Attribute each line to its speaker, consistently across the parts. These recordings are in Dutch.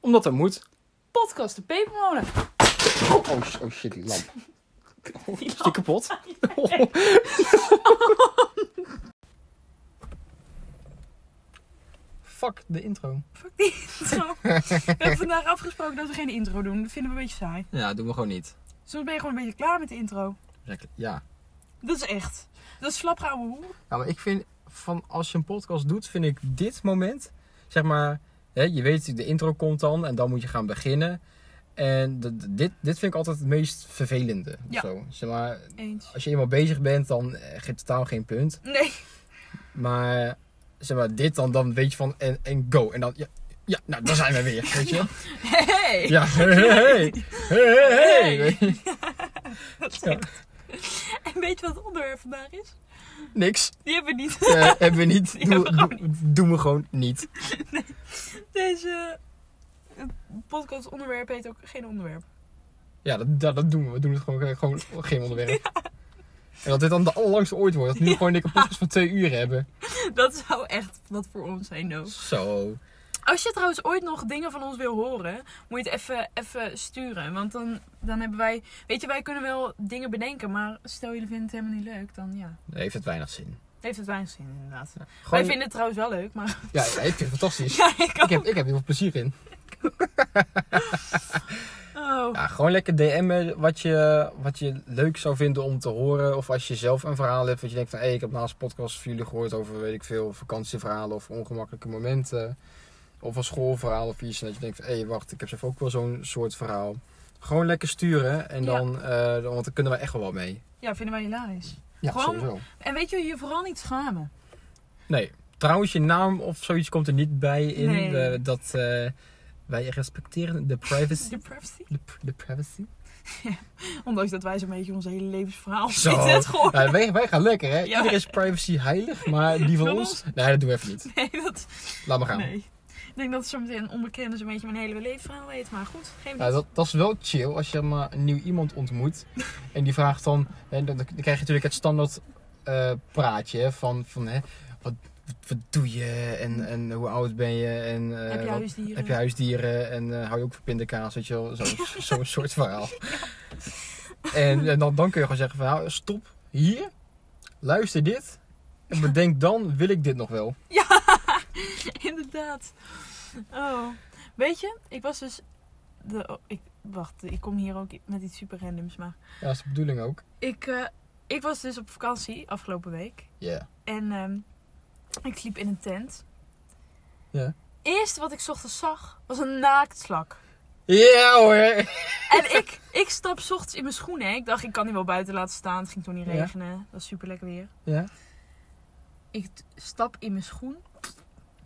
Speaker 1: Omdat dat moet.
Speaker 2: Podcast de pepermolen.
Speaker 1: Oh, oh, sh- oh shit, die lamp. Oh, is die kapot? Fuck de intro.
Speaker 2: Fuck die intro. We hebben vandaag afgesproken dat we geen intro doen. Dat vinden we een beetje saai.
Speaker 1: Ja, doen we gewoon niet.
Speaker 2: Zo ben je gewoon een beetje klaar met de intro.
Speaker 1: Ja.
Speaker 2: Dat is echt. Dat is slap ouwe hoer.
Speaker 1: Ja, maar ik vind van als je een podcast doet, vind ik dit moment, zeg maar, hè, je weet, de intro komt dan en dan moet je gaan beginnen. En d- d- dit, dit vind ik altijd het meest vervelende. of
Speaker 2: Ja.
Speaker 1: Zo. Zeg maar,
Speaker 2: Eens.
Speaker 1: als je eenmaal bezig bent, dan eh, geeft het totaal geen punt.
Speaker 2: Nee.
Speaker 1: Maar, zeg maar, dit dan, dan weet je van en, en go. En dan, ja, ja, nou, daar zijn we weer, weet je.
Speaker 2: Hey.
Speaker 1: Ja, hey, hey, hey, hey, hey.
Speaker 2: Dat is echt. En weet je wat het onderwerp vandaag is?
Speaker 1: Niks.
Speaker 2: Die hebben we niet.
Speaker 1: Eh, hebben we niet.
Speaker 2: Die hebben we
Speaker 1: Doe- doe- Doen we gewoon niet.
Speaker 2: Deze eh, podcast onderwerp heet ook geen onderwerp.
Speaker 1: Ja, dat, dat, dat doen we. We doen het gewoon, gewoon geen onderwerp. En dat dit dan de allerlangste ooit wordt. Dat we nu gewoon een dikke podcast van twee uur hebben.
Speaker 2: Dat zou echt wat voor ons zijn, no.
Speaker 1: Zo.
Speaker 2: Als je trouwens ooit nog dingen van ons wil horen, moet je het even, even sturen. Want dan, dan hebben wij. Weet je, wij kunnen wel dingen bedenken, maar stel jullie vinden het helemaal niet leuk, dan ja.
Speaker 1: Nee, heeft het weinig zin.
Speaker 2: Heeft het weinig zin, inderdaad. Wij
Speaker 1: Gewoon,
Speaker 2: vinden het trouwens wel leuk, maar.
Speaker 1: Ja, ja, ik vind het fantastisch.
Speaker 2: Ja, ik ook.
Speaker 1: Ik heb, ik heb heel veel plezier in.
Speaker 2: Oh.
Speaker 1: Ja, gewoon lekker DM'en wat je, wat je leuk zou vinden om te horen. Of als je zelf een verhaal hebt. Wat je denkt van, hé, ik heb naast een podcast van jullie gehoord over, weet ik veel, vakantieverhalen of ongemakkelijke momenten. Of een schoolverhaal of iets. En dat je denkt van, hé, wacht, ik heb zelf ook wel zo'n soort verhaal. Gewoon lekker sturen. En
Speaker 2: Ja.
Speaker 1: dan, eh, dan- want dan kunnen we echt wel wat mee.
Speaker 2: Ja, vinden wij hilarisch.
Speaker 1: Ja,
Speaker 2: Gewoon-
Speaker 1: sowieso.
Speaker 2: En weet je, je vooral niet schamen.
Speaker 1: Nee, trouwens, je naam of zoiets komt er niet bij in.
Speaker 2: Nee.
Speaker 1: We- dat, eh, wij respecteren de privacy.
Speaker 2: De privacy.
Speaker 1: De, pr- de privacy.
Speaker 2: Ondanks dat wij zo'n beetje ons hele levensverhaal
Speaker 1: Zo.
Speaker 2: zitten het gewoon.
Speaker 1: Ja, wij, wij gaan lekker, hè?
Speaker 2: Ja.
Speaker 1: Iedereen is privacy heilig, maar die van
Speaker 2: Van
Speaker 1: ons? Nee, dat doen we even niet.
Speaker 2: Nee, dat.
Speaker 1: Laat maar gaan.
Speaker 2: Nee. Ik denk dat zometeen een onbekende zo'n beetje mijn hele levensverhaal weet. Maar goed, geen
Speaker 1: Ja, dat, dat is wel chill als je maar een nieuw iemand ontmoet. En die vraagt dan... Hè, dan, dan krijg je natuurlijk het standaard eh, praatje hè, van... van hè, wat, wat doe je? En, en hoe oud ben je? En, eh,
Speaker 2: Heb dus je
Speaker 1: wat-
Speaker 2: huisdieren?
Speaker 1: heb je huisdieren? En eh, hou je ook van pindakaas? Weet je wel, zo- zo'n soort verhaal. En, en dan, dan kun je gewoon zeggen van... nou, stop hier. Luister dit. En bedenk dan, wil ik dit nog wel?
Speaker 2: Inderdaad. Oh. Weet je, ik was dus. De, oh, ik, wacht, ik kom hier ook met iets super randoms. Maar
Speaker 1: Ja, dat is de bedoeling ook.
Speaker 2: ik, eh, ik was dus op vakantie afgelopen week.
Speaker 1: Ja.
Speaker 2: En ehm, ik sliep in een tent.
Speaker 1: Ja.
Speaker 2: Eerste wat ik 's ochtends zag was een naaktslak.
Speaker 1: Ja hoor!
Speaker 2: En ik, ik stap 's ochtends in mijn schoenen. hè. Ik dacht, ik kan die wel buiten laten staan. Het ging toen niet
Speaker 1: Ja.
Speaker 2: regenen. Dat was super lekker weer.
Speaker 1: Ja.
Speaker 2: Ik t- stap in mijn schoen.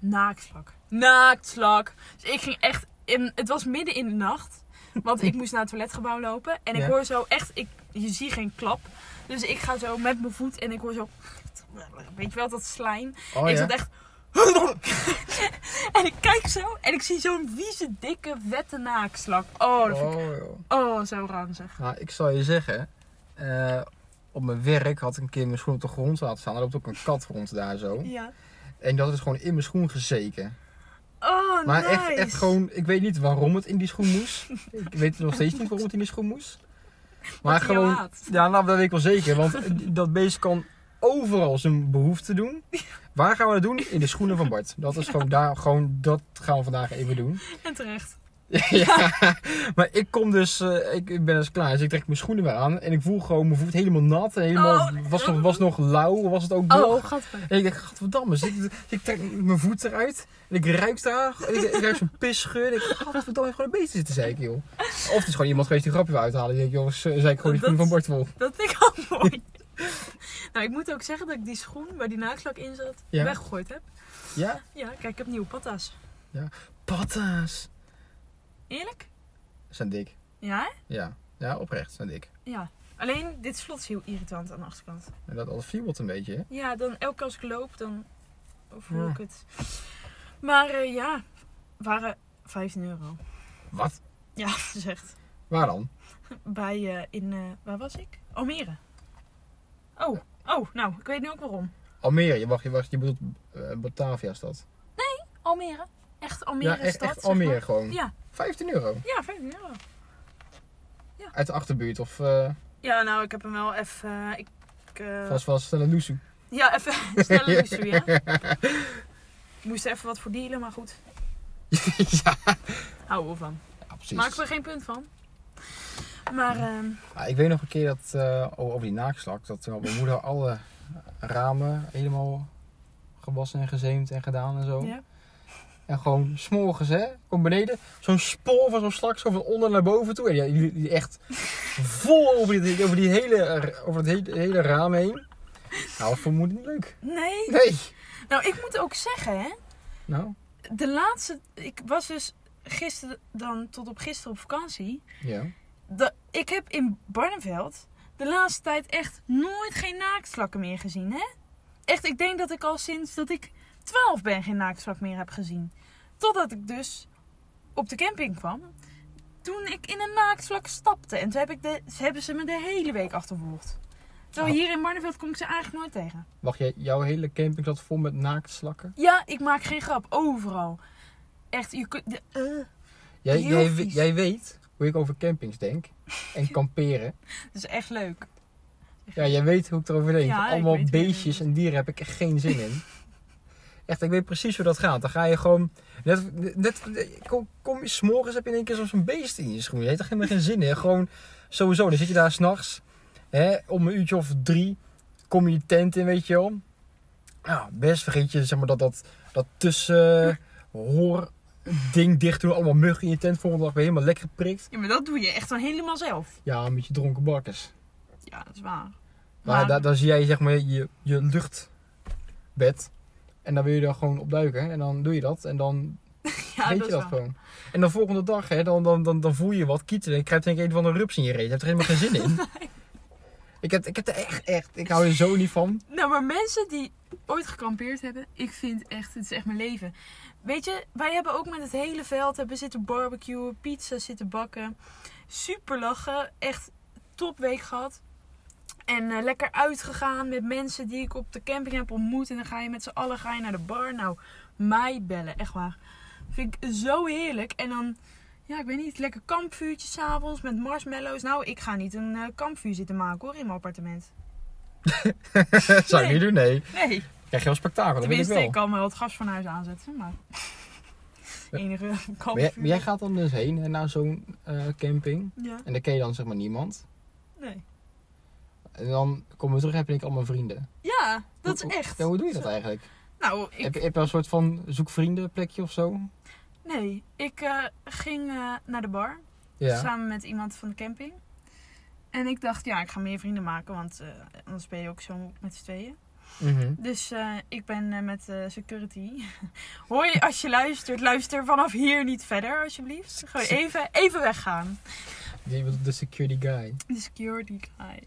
Speaker 2: Naaktslak. Naaktslak. Dus ik ging echt. In, het was midden in de nacht. Want ik moest naar het toiletgebouw lopen. En ik
Speaker 1: Ja.
Speaker 2: hoor zo echt. Ik, je ziet geen klap. Dus ik ga zo met mijn voet en ik hoor zo. Weet je wel, dat slijm.
Speaker 1: Oh ja.
Speaker 2: ik zat echt. en ik kijk zo en ik zie zo'n vieze, dikke, wette naakslak. Oh, dat vind ik,
Speaker 1: Oh, joh.
Speaker 2: oh zo ranzig.
Speaker 1: Nou, ik zal je zeggen, eh, op mijn werk had ik een keer mijn schoen op de grond laten staan. Er loopt ook een kat rond daar zo.
Speaker 2: Ja.
Speaker 1: En dat is gewoon in mijn schoen gezeken.
Speaker 2: Oh,
Speaker 1: Maar
Speaker 2: nice.
Speaker 1: echt, echt gewoon, ik weet niet waarom het in die schoen moest. ik weet nog steeds niet waarom het in die schoen moest. Maar
Speaker 2: Wat hij jou
Speaker 1: gewoon,
Speaker 2: haat.
Speaker 1: ja, nou, dat weet ik wel zeker. Want dat beest kan overal zijn behoefte doen. Waar gaan we dat doen? In de schoenen van Bart. Dat is gewoon daar, gewoon, dat gaan we vandaag even doen.
Speaker 2: En terecht.
Speaker 1: Ja, maar ik kom dus, eh, ik, ik ben dus klaar. Dus ik trek mijn schoenen weer aan en ik voel gewoon mijn voet helemaal nat. En helemaal,
Speaker 2: Oh.
Speaker 1: was, nog, was nog lauw, was het ook nog.
Speaker 2: Oh, gadver.
Speaker 1: En ik denk, gadverdamme. Dus ik, ik trek mijn voet eruit en ik ruik daar. En ik, ik ruik zo'n pissgeur. En ik denk, gadverdamme, heeft gewoon een beetje zitten zeiken, joh. Of het is gewoon iemand geweest die een grapje wil uithalen. Die denkt, joh, ze- zei ik gewoon die schoenen van Bart vol.
Speaker 2: Dat vind ik al mooi. nou, ik moet ook zeggen dat ik die schoen waar die naakslak in zat
Speaker 1: Ja.
Speaker 2: weggegooid heb.
Speaker 1: Ja?
Speaker 2: Ja, kijk, ik heb nieuwe patas.
Speaker 1: Patta's.
Speaker 2: Eerlijk?
Speaker 1: Zijn dik.
Speaker 2: Ja, hè?
Speaker 1: Ja. Ja, oprecht, zijn dik.
Speaker 2: Ja. Alleen, dit slot is heel irritant aan de achterkant.
Speaker 1: En dat, dat fiebelt een beetje, hè?
Speaker 2: Ja, dan elke keer als ik loop, dan overhoor
Speaker 1: Ja.
Speaker 2: ik het. Maar eh, ja, waren 15 euro.
Speaker 1: Wat?
Speaker 2: Ja, dat is echt.
Speaker 1: Waar dan?
Speaker 2: Bij, eh, in, eh, waar was ik? Almere. Oh, oh, nou, ik weet nu ook waarom.
Speaker 1: Almere, je, wacht, je, wacht, je bedoelt eh, Batavia-stad.
Speaker 2: Almere. Echt Almere
Speaker 1: Ja, echt,
Speaker 2: stad.
Speaker 1: echt
Speaker 2: zeg maar.
Speaker 1: Almere gewoon.
Speaker 2: Ja,
Speaker 1: 15 euro.
Speaker 2: Ja, 15 euro.
Speaker 1: Uit de achterbuurt of eh
Speaker 2: Ja, nou, ik heb hem wel even... eh, ik, eh,
Speaker 1: vast wel snelle loesoe.
Speaker 2: Ja, even snel luisteren, ja. Ik moest er even wat voor dealen, maar goed.
Speaker 1: ja,
Speaker 2: Houden we van.
Speaker 1: ja, precies.
Speaker 2: Maak er geen punt van. Maar ehm,
Speaker 1: Ja, Ah, ik weet nog een keer dat, eh, o- over die naakslak, dat eh, mijn moeder alle ramen helemaal gewassen en gezeemd en gedaan en zo.
Speaker 2: ja.
Speaker 1: En gewoon s'morgens, hè, kom beneden, zo'n spoor van zo'n slak, zo van onder naar boven toe. En ja, die, die echt vol over, die, over, die hele, over het hele, hele raam heen. Nou, dat vond moeder niet leuk.
Speaker 2: Nee.
Speaker 1: Nee.
Speaker 2: Nou, ik moet ook zeggen, hè.
Speaker 1: Nou,
Speaker 2: De laatste... Ik was dus gisteren dan tot op gisteren op vakantie.
Speaker 1: ja.
Speaker 2: De, ik heb in Barneveld de laatste tijd echt nooit geen naaktslakken meer gezien, hè? Echt, ik denk dat ik al sinds dat ik 12 ben geen naaktslak meer heb gezien. Totdat ik dus op de camping kwam. Toen ik in een naaktslak stapte. En toen heb ik de, ze hebben ze me de hele week achtervolgd. Terwijl
Speaker 1: Oh.
Speaker 2: hier in Barneveld kom ik ze eigenlijk nooit tegen.
Speaker 1: Wacht, jij, jouw hele camping zat vol met naaktslakken?
Speaker 2: Ja, ik maak geen grap. Overal. Echt, je kunt... de- eh.
Speaker 1: Jij,
Speaker 2: Heel
Speaker 1: jij,
Speaker 2: vies.
Speaker 1: jij weet hoe ik over campings denk en kamperen.
Speaker 2: Dat is echt leuk.
Speaker 1: Ja, jij weet hoe ik erover denk.
Speaker 2: Ja, ik
Speaker 1: Allemaal
Speaker 2: weet hoe je
Speaker 1: beestjes en dieren heb ik echt geen zin in. Echt, ik weet precies hoe dat gaat. Dan ga je gewoon... Net, net, kom, kom je s'morgens heb je in één keer zo'n- zo'n beest in je schoen. Je hebt er helemaal geen zin in. Gewoon sowieso. Dan zit je daar s'nachts. Om een uurtje of drie kom je je tent in, weet je wel. Nou, best vergeet je zeg maar, dat, dat, dat tussen hoor ding dicht doen. Allemaal muggen in je tent. Volgende dag weer helemaal lekker geprikt.
Speaker 2: Ja, maar dat doe je echt dan helemaal zelf.
Speaker 1: Ja, een beetje dronken bakkers.
Speaker 2: Ja, dat is waar.
Speaker 1: Maar, daar, daar zie jij zeg maar je, je luchtbed. En dan wil je daar gewoon op duiken. En dan doe je dat. En dan
Speaker 2: ja,
Speaker 1: weet
Speaker 2: dat
Speaker 1: je
Speaker 2: is
Speaker 1: dat
Speaker 2: waar.
Speaker 1: gewoon. En dan volgende dag, hè, dan, dan, dan, dan voel je wat kietelen. Ik krijg denk ik een van de rups in je reet. Je hebt er helemaal geen zin in. Ik heb, ik heb er echt, echt, ik hou er zo niet van.
Speaker 2: Nou, maar mensen die ooit gekampeerd hebben, ik vind echt, het is echt mijn leven. Weet je, wij hebben ook met het hele veld hebben zitten barbecuen, pizza zitten bakken. Super lachen, echt topweek gehad. En eh, lekker uitgegaan met mensen die ik op de camping heb ontmoet. En dan ga je met z'n allen ga je naar de bar. Nou, mij bellen, echt waar. Vind ik zo heerlijk. En dan, ja, ik weet niet, lekker kampvuurtje s'avonds met marshmallows. Nou, ik ga niet een eh, kampvuur zitten maken hoor in mijn appartement.
Speaker 1: Zou je
Speaker 2: Nee.
Speaker 1: niet doen, nee.
Speaker 2: Nee.
Speaker 1: Krijg je wel spektakel, dat weet ik
Speaker 2: Tenminste,
Speaker 1: wel.
Speaker 2: ik kan wel het gas van huis aanzetten, maar... Enige
Speaker 1: Maar jij,
Speaker 2: kampvuur.
Speaker 1: maar jij gaat dan dus heen hè, naar zo'n eh, camping.
Speaker 2: Ja,
Speaker 1: En dan ken je dan zeg maar niemand.
Speaker 2: nee.
Speaker 1: En dan komen we terug en heb ik allemaal vrienden.
Speaker 2: Ja, dat
Speaker 1: Hoe-
Speaker 2: is
Speaker 1: hoe-
Speaker 2: echt.
Speaker 1: Ja, hoe doe je dat eigenlijk?
Speaker 2: Nou,
Speaker 1: Heb,
Speaker 2: ik...
Speaker 1: je- heb je wel een soort van zoekvriendenplekje of zo?
Speaker 2: Nee, ik eh, ging eh, naar de bar.
Speaker 1: Ja.
Speaker 2: Samen met iemand van de camping. En ik dacht, ja, ik ga meer vrienden maken, want eh, anders ben je ook zo met z'n tweeën.
Speaker 1: Mhm.
Speaker 2: Dus eh, ik ben eh, met eh, security. Hoi, als je luistert, luister vanaf hier niet verder, alsjeblieft. Gewoon even, even weggaan.
Speaker 1: Die was de security guy.
Speaker 2: De security guy.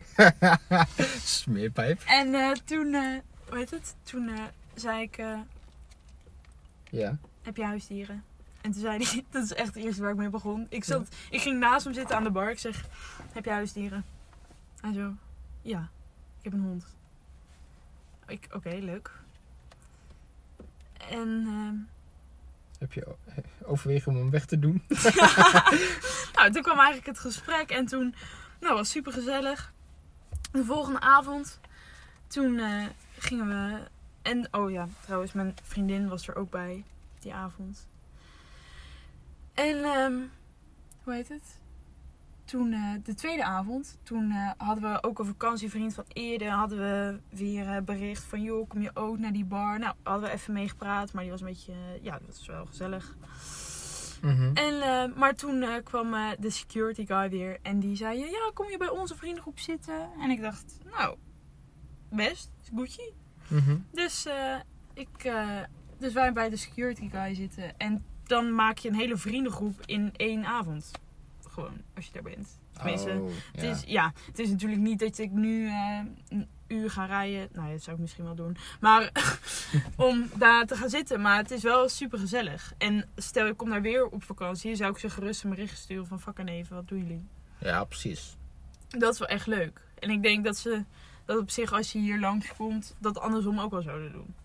Speaker 1: Smeerpijp.
Speaker 2: En eh, toen, eh, hoe heet het? Toen eh, zei ik, eh,
Speaker 1: Ja.
Speaker 2: heb je huisdieren? En toen zei hij, dat is echt het eerste waar ik mee begon. Ik, zat, ik ging naast hem zitten aan de bar. Ik zeg, heb je huisdieren? Hij zo, ja, ik heb een hond. Ik, oké, leuk. En, ehm,
Speaker 1: Heb je o- overwegen om hem weg te doen?
Speaker 2: nou, toen kwam eigenlijk het gesprek en toen, nou, was super gezellig. De volgende avond, toen eh, gingen we. En, oh ja, trouwens, mijn vriendin was er ook bij die avond. En, ehm, hoe heet het? Toen, eh, de tweede avond, toen eh, hadden we ook een vakantievriend van eerder. Hadden we weer eh, bericht van, joh, kom je ook naar die bar? Nou, hadden we even meegepraat, maar die was een beetje, eh, ja, dat was wel gezellig.
Speaker 1: Mm-hmm.
Speaker 2: En, eh, maar toen eh, kwam eh, de security guy weer en die zei: Ja, kom je bij onze vriendengroep zitten? En ik dacht: Nou, best, goedje.
Speaker 1: Mhm.
Speaker 2: Dus, eh, ik, eh, dus wij bij de security guy zitten en dan maak je een hele vriendengroep in één avond. Gewoon, als je daar bent. Tenminste,
Speaker 1: Oh,
Speaker 2: het,
Speaker 1: ja.
Speaker 2: is, ja, het is natuurlijk niet dat ik nu eh, een uur ga rijden. Nou, dat zou ik misschien wel doen. Maar om daar te gaan zitten. Maar het is wel super gezellig. En stel ik kom daar weer op vakantie, zou ik ze gerust een bericht sturen van fuck en even, wat doen jullie?
Speaker 1: ja, precies.
Speaker 2: Dat is wel echt leuk. En ik denk dat ze dat op zich als je hier langskomt, dat andersom ook wel zouden doen.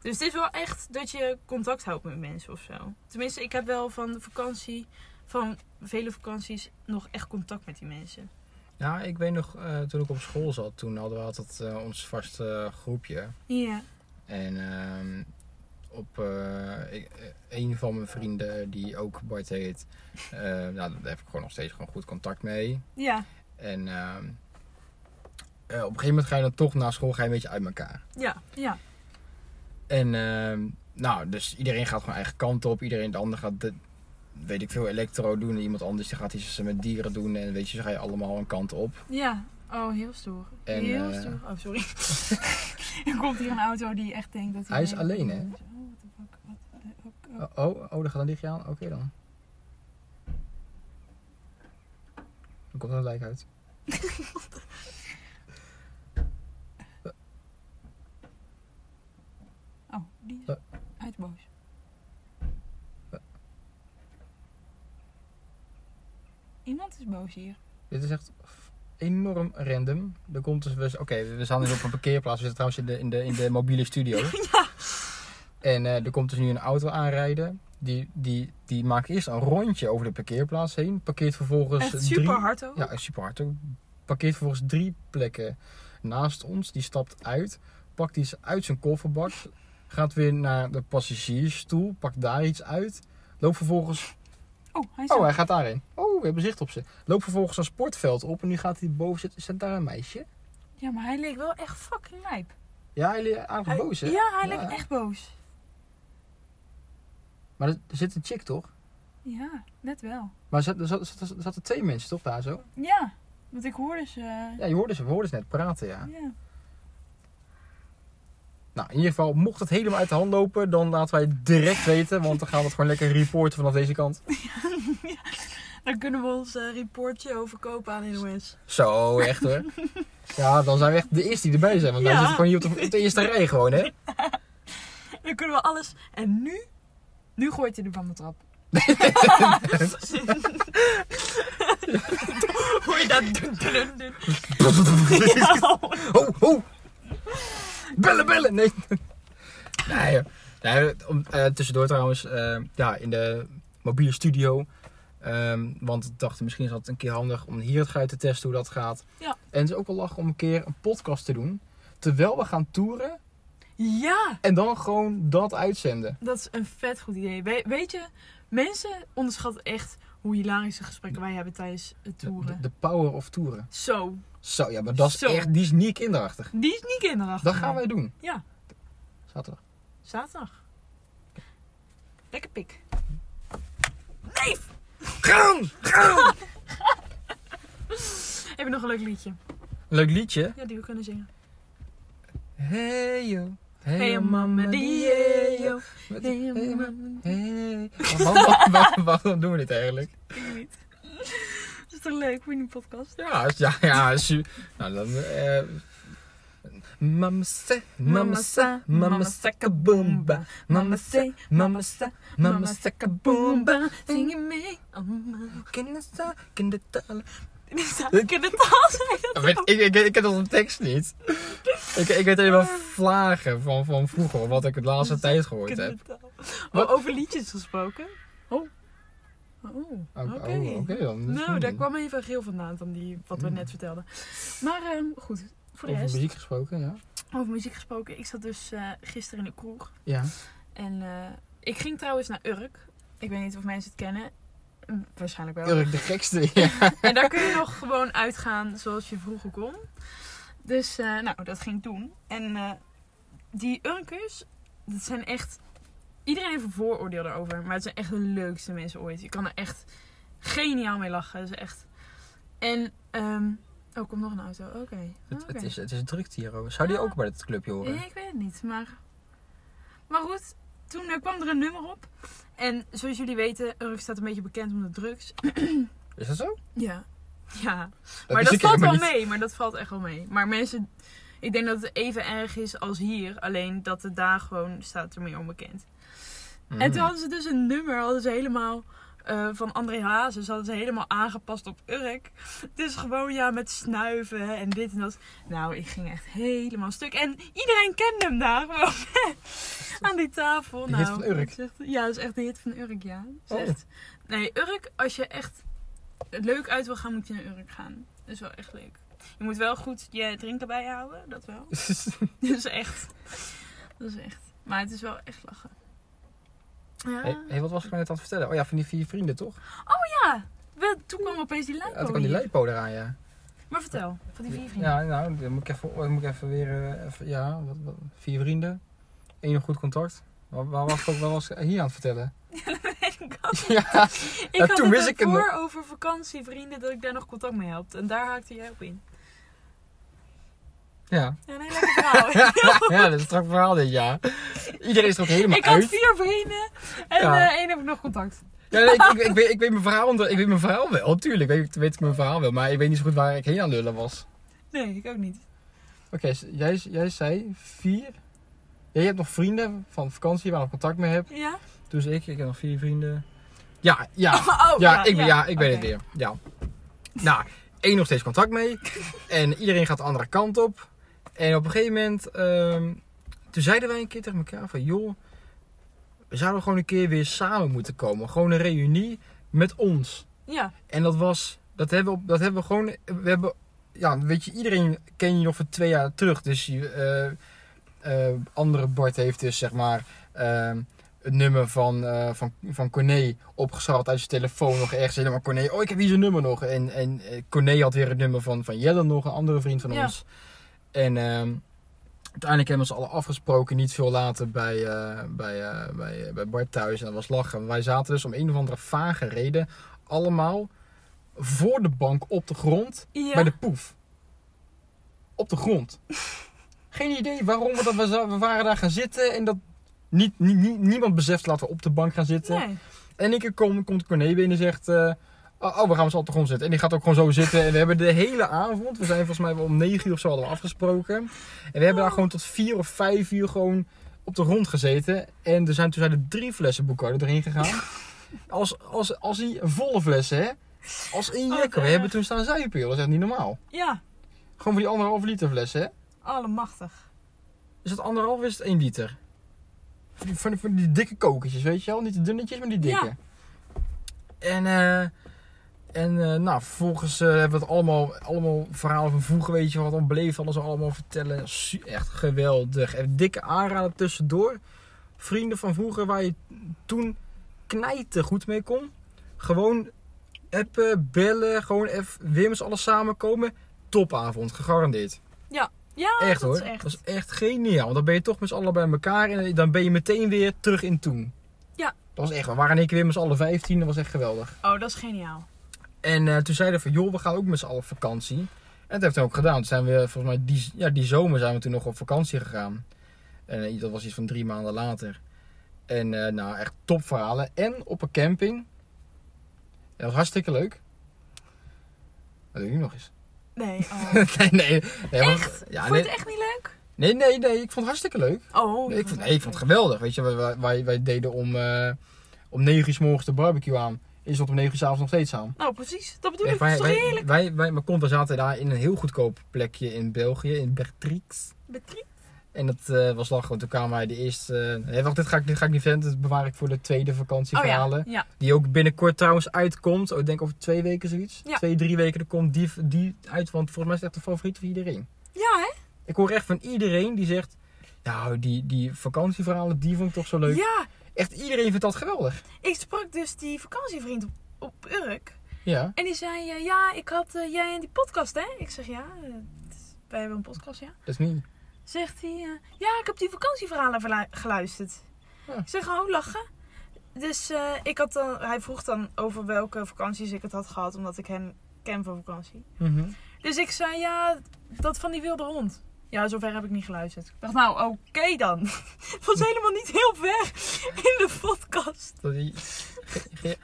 Speaker 2: Dus het is wel echt dat je contact houdt met mensen of zo. Tenminste, ik heb wel van de vakantie, van vele vakanties, nog echt contact met die mensen.
Speaker 1: Ja, ik weet nog, eh, toen ik op school zat, toen hadden we altijd eh, ons vaste eh, groepje.
Speaker 2: Ja.
Speaker 1: En ehm, op eh, ik- eh, een van mijn vrienden, die ook Bart heet, eh, nou, daar heb ik gewoon nog steeds gewoon goed contact mee.
Speaker 2: Ja.
Speaker 1: En ehm, eh, op een gegeven moment ga je dan toch na school ga je een beetje uit elkaar.
Speaker 2: Ja. Ja.
Speaker 1: En ehm, nou, dus iedereen gaat gewoon eigen kant op. Iedereen, de ander gaat, de, weet ik veel, elektro doen. En iemand anders die gaat iets met dieren doen. En weet je, zo ga je allemaal een kant op.
Speaker 2: Ja. Oh, heel stoer.
Speaker 1: En,
Speaker 2: heel
Speaker 1: eh,
Speaker 2: stoer. Oh, sorry. er komt hier een auto die echt denkt dat hij...
Speaker 1: Hij is alleen, hè?
Speaker 2: Oh, what the fuck, what the fuck, oh.
Speaker 1: Oh, oh, oh daar gaat een lichtje aan. Oké dan. Dan komt er een lijk uit.
Speaker 2: Oh, die is
Speaker 1: Eh.
Speaker 2: uit boos. Iemand is boos hier.
Speaker 1: Dit is echt f- enorm random. Er komt dus... we- Oké, we staan dus op een parkeerplaats. We zitten trouwens in de, in de, in de mobiele studio. En eh, er komt dus nu een auto aanrijden. Die, die, die maakt eerst een rondje over de parkeerplaats heen. Parkeert vervolgens
Speaker 2: Echt
Speaker 1: drie...
Speaker 2: super hard ook.
Speaker 1: Ja, super hard ook. Parkeert vervolgens drie plekken naast ons. Die stapt uit, pakt iets uit zijn kofferbak, gaat weer naar de passagiersstoel, pakt daar iets uit. Loopt vervolgens.
Speaker 2: Oh, hij is
Speaker 1: Oh, hij gaat daarin. Oh, we hebben zicht op ze. Loopt vervolgens een sportveld op en nu gaat hij boven zitten. Zit daar een meisje?
Speaker 2: Ja, maar hij leek wel echt fucking lijp.
Speaker 1: Ja, hij is eigenlijk boos, hè?
Speaker 2: Ja, hij
Speaker 1: Ja.
Speaker 2: leek echt boos.
Speaker 1: Maar er er zit een chick toch?
Speaker 2: Ja, net wel.
Speaker 1: Maar er zat- er zat- er zat- er zaten twee mensen toch daar zo?
Speaker 2: Ja, want ik hoorde ze... eh,
Speaker 1: Ja, je hoorde ze, we hoorden ze net praten, ja.
Speaker 2: Ja.
Speaker 1: Nou, in ieder geval, mocht het helemaal uit de hand lopen, dan laten wij het direct weten. Want dan gaan we het gewoon lekker reporten vanaf deze kant.
Speaker 2: Dan kunnen we ons eh, reportje over kopen aan NOS.
Speaker 1: Zo, echt hoor. Ja, dan zijn we echt de eerste die erbij zijn. Want wij
Speaker 2: Ja.
Speaker 1: zitten gewoon hier op de, op de eerste rij gewoon, hè.
Speaker 2: Dan kunnen we alles... En nu... Nu gooit hij de van de trap. Hoor je dat? Dun, dun, dun. Ja.
Speaker 1: Ho, ho! Bellen, bellen! Nee. Nee, joh. nee om, eh, tussendoor trouwens. eh, ja, in de mobiele studio. Ehm, want we dachten, misschien is dat een keer handig om hier het geluid te testen hoe dat gaat.
Speaker 2: Ja.
Speaker 1: En het is ook wel lachen om een keer een podcast te doen. Terwijl we gaan toeren.
Speaker 2: Ja,
Speaker 1: En dan gewoon dat uitzenden.
Speaker 2: dat is een vet goed idee. We- weet je, mensen onderschatten echt hoe hilarische gesprekken wij hebben tijdens het
Speaker 1: De,
Speaker 2: toeren.
Speaker 1: de power of toeren.
Speaker 2: Zo,
Speaker 1: Zo, ja, maar dat is
Speaker 2: Zo.
Speaker 1: echt, die is niet kinderachtig.
Speaker 2: die is niet kinderachtig.
Speaker 1: Dat gaan wij doen.
Speaker 2: Ja.
Speaker 1: Zaterdag.
Speaker 2: Zaterdag. Lekker pik. Nee!
Speaker 1: Gaan!
Speaker 2: Heb je nog een leuk liedje?
Speaker 1: Leuk liedje.
Speaker 2: Ja, die we kunnen zingen.
Speaker 1: Hey yo.
Speaker 2: Hey, yo, mama, die, hey, yo.
Speaker 1: Met-
Speaker 2: Hey, yo,
Speaker 1: hey,
Speaker 2: mama,
Speaker 1: Hey. Oh, Waarom- Waarom waarom doen we dit eigenlijk?
Speaker 2: die. niet. Dat is toch leuk voor een podcast?
Speaker 1: Ja, is- ja, ja. is- Nou, dan... eh Mama say, mama say, mama sakabumba. Mama say, mama say, mama sakabumba.
Speaker 2: boomba, zing je mee? Allemaal.
Speaker 1: Kindersta, kindertalen.
Speaker 2: Ik heb het al
Speaker 1: Ik, Oh, weet- ik, ik, ik ken dat de tekst niet. Ik, ik weet alleen maar vlagen van, van vroeger, wat ik de laatste tijd gehoord heb. Wat?
Speaker 2: Wat? Oh, Over liedjes gesproken. Oh. Oh,
Speaker 1: Oh,
Speaker 2: oké.
Speaker 1: oh, oké dan.
Speaker 2: Nou, daar
Speaker 1: Hmm.
Speaker 2: kwam even geel vandaan dan die, wat we
Speaker 1: Hmm.
Speaker 2: net vertelden. Maar ehm, goed, voor de
Speaker 1: Over
Speaker 2: rest.
Speaker 1: muziek gesproken, ja.
Speaker 2: Over muziek gesproken. Ik zat dus eh, gisteren in de kroeg.
Speaker 1: Ja.
Speaker 2: En eh, ik ging trouwens naar Urk. Ik weet niet of mensen het kennen. Hm, Waarschijnlijk wel.
Speaker 1: Urk de gekste. Ja.
Speaker 2: En daar kun je nog gewoon uitgaan zoals je vroeger kon. Dus eh, nou, dat ging ik doen. En eh, die Urkers, dat zijn echt... Iedereen heeft een vooroordeel daarover. Maar het zijn echt de leukste mensen ooit. Je kan er echt geniaal mee lachen. Dat is echt... En... ehm oh, komt nog een auto. Oké.
Speaker 1: Het, het,
Speaker 2: Oké.
Speaker 1: is, het is druk hier. hoor. Zou die ook bij het clubje horen?
Speaker 2: Ja, ik weet het niet, maar... Maar goed, toen eh, kwam er een nummer op. En zoals jullie weten, Urk staat een beetje bekend om de drugs.
Speaker 1: Is dat zo?
Speaker 2: Ja. Ja.
Speaker 1: Dat
Speaker 2: maar
Speaker 1: wist
Speaker 2: dat
Speaker 1: ik
Speaker 2: valt wel
Speaker 1: helemaal niet.
Speaker 2: mee, maar dat valt echt wel mee. Maar mensen, ik denk dat het even erg is als hier. Alleen dat het daar gewoon staat er meer onbekend. En
Speaker 1: Mm.
Speaker 2: toen hadden ze dus een nummer, hadden ze helemaal... eh, eh, van André Hazes hadden ze helemaal aangepast op Urk. Dus gewoon ja, met snuiven en dit en dat. Nou, ik ging echt helemaal stuk. En iedereen kende hem daar gewoon aan die tafel.
Speaker 1: De
Speaker 2: nou,
Speaker 1: hit van Urk.
Speaker 2: dat is echt- ja, dat is echt de hit van Urk, ja. Dat is
Speaker 1: Oh.
Speaker 2: echt- nee, Urk, als je echt leuk uit wil gaan, moet je naar Urk gaan. Dat is wel echt leuk. Je moet wel goed je drinken bijhouden, dat wel. Dat is echt. Dat is echt. Maar het is wel echt lachen. Ja.
Speaker 1: Hé, hey, wat was ik nou net aan het vertellen? Oh ja, van die vier vrienden toch?
Speaker 2: ja. we- toen kwam opeens die
Speaker 1: Ja,
Speaker 2: lijpo
Speaker 1: toen kwam die
Speaker 2: hier.
Speaker 1: Leipo eraan, ja.
Speaker 2: Maar vertel, van die vier vrienden.
Speaker 1: Ja, nou, dan moet ik even, dan moet ik even weer, eh, even- ja, wat- wat- vier vrienden, één nog goed contact. Waar, waar was ik ook, waar was ik hier aan het vertellen?
Speaker 2: ik had,
Speaker 1: ja,
Speaker 2: ik
Speaker 1: Ja,
Speaker 2: had
Speaker 1: toen
Speaker 2: het
Speaker 1: wist ik het
Speaker 2: ervoor over vakantievrienden dat ik daar nog contact mee had. En daar haakte jij op in.
Speaker 1: ja.
Speaker 2: Ja, een heel lekker verhaal.
Speaker 1: ja, dat is een strak verhaal dit jaar. Iedereen is er ook helemaal
Speaker 2: ik had
Speaker 1: uit.
Speaker 2: vier vrienden en
Speaker 1: Ja.
Speaker 2: eh, één heb ik nog contact.
Speaker 1: Ja, nee, ik, ik, ik, weet, ik, weet mijn verhaal onder, ik weet mijn verhaal wel, tuurlijk weet, ik- weet ik mijn verhaal wel, maar ik weet niet zo goed waar ik heen aan lullen was.
Speaker 2: Nee, ik ook niet.
Speaker 1: Oké, s- jij, jij zei vier, jij hebt nog vrienden van vakantie waar ik contact mee heb.
Speaker 2: Ja?
Speaker 1: Dus ik, ik heb nog vier vrienden. Ja, ja.
Speaker 2: Oh,
Speaker 1: ja, ik, ben- ja, ik ben
Speaker 2: Oké.
Speaker 1: het weer. Ja. Nou, één nog steeds contact mee. En iedereen gaat de andere kant op. En op een gegeven moment, ehm, toen zeiden wij een keer tegen elkaar van, joh, we zouden gewoon een keer weer samen moeten komen. Gewoon een reunie met ons.
Speaker 2: Ja,
Speaker 1: En dat was, dat hebben we, op- dat hebben we gewoon, we hebben, ja, weet je, iedereen ken je nog van twee jaar terug. Dus je, eh, eh, andere Bart heeft dus, zeg maar, ehm, het nummer van, eh, van, van Corné opgeschrapt uit zijn telefoon nog ergens. Helemaal Corné, oh ik heb hier zijn nummer nog. En, en eh, Corné had weer het nummer van, van Jelle nog, een andere vriend van
Speaker 2: Ja.
Speaker 1: ons. En ehm, uiteindelijk hebben we ze alle afgesproken, niet veel later, bij, eh, bij, eh, bij, eh, bij Bart thuis. En dat was lachen. Wij zaten dus om een of andere vage reden allemaal voor de bank op de grond
Speaker 2: ja.
Speaker 1: bij de poef. Op de grond. Geen idee waarom we dat we, za- we waren daar gaan zitten en dat niet, nie- nie- niemand beseft laten we op de bank gaan zitten.
Speaker 2: Nee.
Speaker 1: En ik kom, komt Corné binnen en zegt, eh, oh, oh, we gaan ons op de grond zitten. En die gaat ook gewoon zo zitten en we hebben de hele avond, we zijn volgens mij wel om negen uur of zo hadden we afgesproken. En we hebben daar gewoon tot vier of vijf uur gewoon op de grond gezeten. En er zijn, toen zijn er drie flessen Boekardo doorheen gegaan. Als, als, als die volle flessen, hè. Als in
Speaker 2: Oh,
Speaker 1: jekken.
Speaker 2: wat
Speaker 1: We hebben
Speaker 2: erg.
Speaker 1: toen staan zuipen, joh. Dat is echt niet normaal.
Speaker 2: Ja,
Speaker 1: Gewoon voor die anderhalf liter fles, hè?
Speaker 2: allemachtig.
Speaker 1: Is dat anderhalf of is het één liter? Van die, van, die, van die dikke kokertjes, weet je wel? Niet de dunnetjes, maar die dikke.
Speaker 2: Ja.
Speaker 1: En, eh, en eh, nou, vervolgens eh, hebben we het allemaal, allemaal verhalen van vroeger, weet je wat onbeleefd, alles allemaal vertellen. Su- Echt geweldig. En dikke aanraden tussendoor. Vrienden van vroeger waar je toen knijten goed mee kon. Gewoon appen, bellen, gewoon even weer met z'n allen samenkomen. Topavond, gegarandeerd
Speaker 2: Ja,
Speaker 1: echt
Speaker 2: Oh, dat
Speaker 1: hoor.
Speaker 2: is echt.
Speaker 1: Dat is echt geniaal. Want dan ben je toch met z'n allen bij elkaar en dan ben je meteen weer terug in toen.
Speaker 2: Ja.
Speaker 1: Dat was echt. We waren in één keer weer met z'n allen 15. Dat was echt geweldig.
Speaker 2: Oh, dat is geniaal.
Speaker 1: En eh, toen zeiden we van joh, we gaan ook met z'n allen op vakantie. En dat heeft hij ook gedaan. Toen zijn we volgens mij die, ja, die zomer zijn we toen nog op vakantie gegaan. En eh, dat was iets van drie maanden later. En eh, nou, echt topverhalen. En op een camping. Dat was hartstikke leuk. Dat doe ik nu nog eens.
Speaker 2: Nee, oh.
Speaker 1: nee, nee. nee want-
Speaker 2: Echt?
Speaker 1: Ja,
Speaker 2: Vond
Speaker 1: nee.
Speaker 2: je het echt niet leuk?
Speaker 1: nee, nee, nee. Ik vond het hartstikke leuk.
Speaker 2: Oh,
Speaker 1: Nee, ik, vond, nee, ik vond het geweldig. Weet je, wij, wij, wij deden om, eh, om 9 uur s morgens de barbecue aan. En je stond om 9 uur s'avonds nog steeds aan.
Speaker 2: Nou, precies. Dat bedoel ik.
Speaker 1: Echt,
Speaker 2: Dat is
Speaker 1: wij,
Speaker 2: toch
Speaker 1: wij,
Speaker 2: heerlijk?
Speaker 1: wij, wij, maar kom, we zaten daar in een heel goedkoop plekje in België, in Bertrix.
Speaker 2: Betriep.
Speaker 1: En dat eh, was lachen, want toen kwamen wij de eerste... eh, nee, wacht, dit ga, ik, dit ga ik niet vinden. Dat bewaar ik voor de tweede
Speaker 2: Oh
Speaker 1: vakantieverhalen.
Speaker 2: ja. ja.
Speaker 1: Die ook binnenkort trouwens uitkomt. Oh, ik denk over twee weken zoiets.
Speaker 2: Ja.
Speaker 1: Twee, drie weken er komt die, die uit. Want volgens mij is het echt de favoriet van iedereen.
Speaker 2: Ja, hè?
Speaker 1: Ik hoor echt van iedereen die zegt... Nou, die, die vakantieverhalen, die vond ik toch zo leuk.
Speaker 2: Ja.
Speaker 1: Echt iedereen vindt dat geweldig.
Speaker 2: Ik sprak dus die vakantievriend op, op Urk.
Speaker 1: Ja.
Speaker 2: En die zei, eh, ja, ik had eh, jij en die podcast, hè? Ik zeg, ja, eh, het is- wij hebben een podcast, ja.
Speaker 1: Dat is niet.
Speaker 2: Zegt hij, eh, ja, ik heb die vakantieverhalen verla- geluisterd.
Speaker 1: Ja.
Speaker 2: Ik zeg, oh, lachen. Dus eh, ik had dan, hij vroeg dan over welke vakanties ik het had gehad, omdat ik hem ken van vakantie.
Speaker 1: Mhm.
Speaker 2: Dus ik zei, ja, dat van die wilde hond. Ja, zover heb ik niet geluisterd. Ik dacht, nou, oké dan. Het was helemaal niet heel ver in de podcast.
Speaker 1: Dat die... Ge- ge-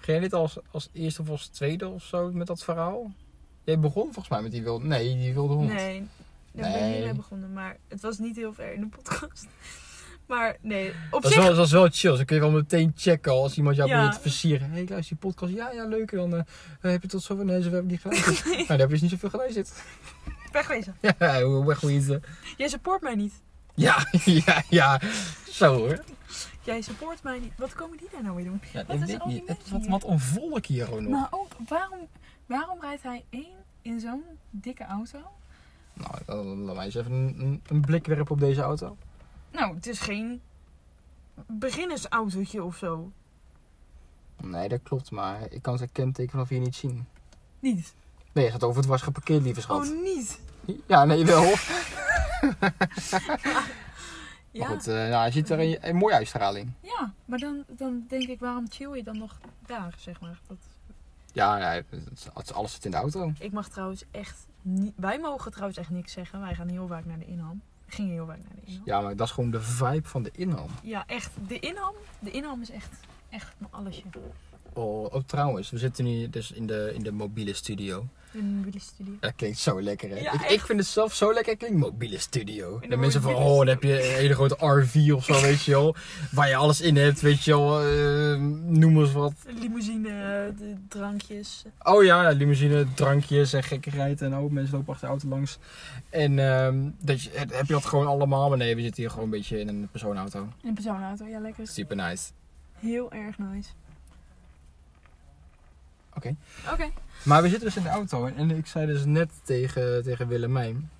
Speaker 1: Ging jij dit als, als eerste of als tweede of zo met dat verhaal? Jij begon volgens mij met die wilde... Nee, die wilde hond.
Speaker 2: Nee, daar ben ik niet
Speaker 1: Nee.
Speaker 2: mee begonnen. Maar het was niet heel ver in de podcast. Maar nee, op
Speaker 1: Dat is,
Speaker 2: zich...
Speaker 1: wel, dat is wel chill. Dan kun je wel meteen checken als iemand jou
Speaker 2: Ja.
Speaker 1: probeert te versieren. Hé, hey, luister die podcast. Ja, ja, leuk. En dan eh, eh, heb je tot zover... Nee, ze hebben niet geluisterd. Nou, daar heb je dus niet zoveel geluisterd.
Speaker 2: Wegwezen.
Speaker 1: Ja, hoe wegwezen.
Speaker 2: Jij support mij niet.
Speaker 1: Ja, ja, ja. Zo hoor.
Speaker 2: Jij support mij niet. Wat komen die daar nou weer doen?
Speaker 1: Ja,
Speaker 2: Wat
Speaker 1: ik
Speaker 2: is
Speaker 1: weet
Speaker 2: al die
Speaker 1: niet. Het,
Speaker 2: mensen
Speaker 1: wat,
Speaker 2: hier? Nou.
Speaker 1: wat een volk hier gewoon nog.
Speaker 2: Maar ook, oh, waarom, waarom rijdt hij één in zo'n dikke auto?
Speaker 1: Nou, dan laat mij eens even een, een, een blik werpen op deze auto.
Speaker 2: Nou, het is geen beginnersautootje of zo.
Speaker 1: Nee, dat klopt. Maar ik kan zijn kenteken vanaf hier niet zien.
Speaker 2: Niet.
Speaker 1: Nee, je gaat over het was geparkeerd, lieve schat.
Speaker 2: Oh, niet.
Speaker 1: Ja, nee, wel.
Speaker 2: Ja,
Speaker 1: Maar goed, eh, nou, hij ziet er een, een mooie uitstraling.
Speaker 2: ja maar dan, dan denk ik, waarom chill je dan nog daar, zeg maar. Dat...
Speaker 1: Ja, ja, het, is- het is- alles zit in de auto.
Speaker 2: Ik mag trouwens echt niet... Wij mogen trouwens echt niks zeggen. Wij gaan heel vaak naar de inham. We gingen heel vaak naar de inham.
Speaker 1: Ja, maar dat is gewoon de vibe van de inham.
Speaker 2: Ja, echt. De inham, de inham is echt, echt mijn allesje.
Speaker 1: Oh, oh, trouwens, we zitten nu dus in de, in de mobiele studio.
Speaker 2: In de mobiele studio.
Speaker 1: Dat klinkt zo lekker, hè?
Speaker 2: Ja,
Speaker 1: ik, ik
Speaker 2: echt.
Speaker 1: vind het zelf zo lekker. Het klinkt mobiele studio.
Speaker 2: de
Speaker 1: De mensen van,
Speaker 2: mobiele
Speaker 1: oh, dan heb je een hele grote RV of zo, weet je wel. Waar je alles in hebt, weet je wel. eh, noem eens wat.
Speaker 2: Limousine, eh, de drankjes.
Speaker 1: Oh ja, limousine, drankjes en gekkigheid en oh, mensen lopen achter de auto langs. En ehm, dat je, heb je dat gewoon allemaal? Maar nee, we zitten hier gewoon een beetje in een persoonauto.
Speaker 2: In een persoonauto, ja lekker.
Speaker 1: Super nice.
Speaker 2: Heel erg nice.
Speaker 1: Oké.
Speaker 2: Oké.
Speaker 1: Maar we zitten dus in de auto en, en ik zei dus net tegen, tegen Willemijn,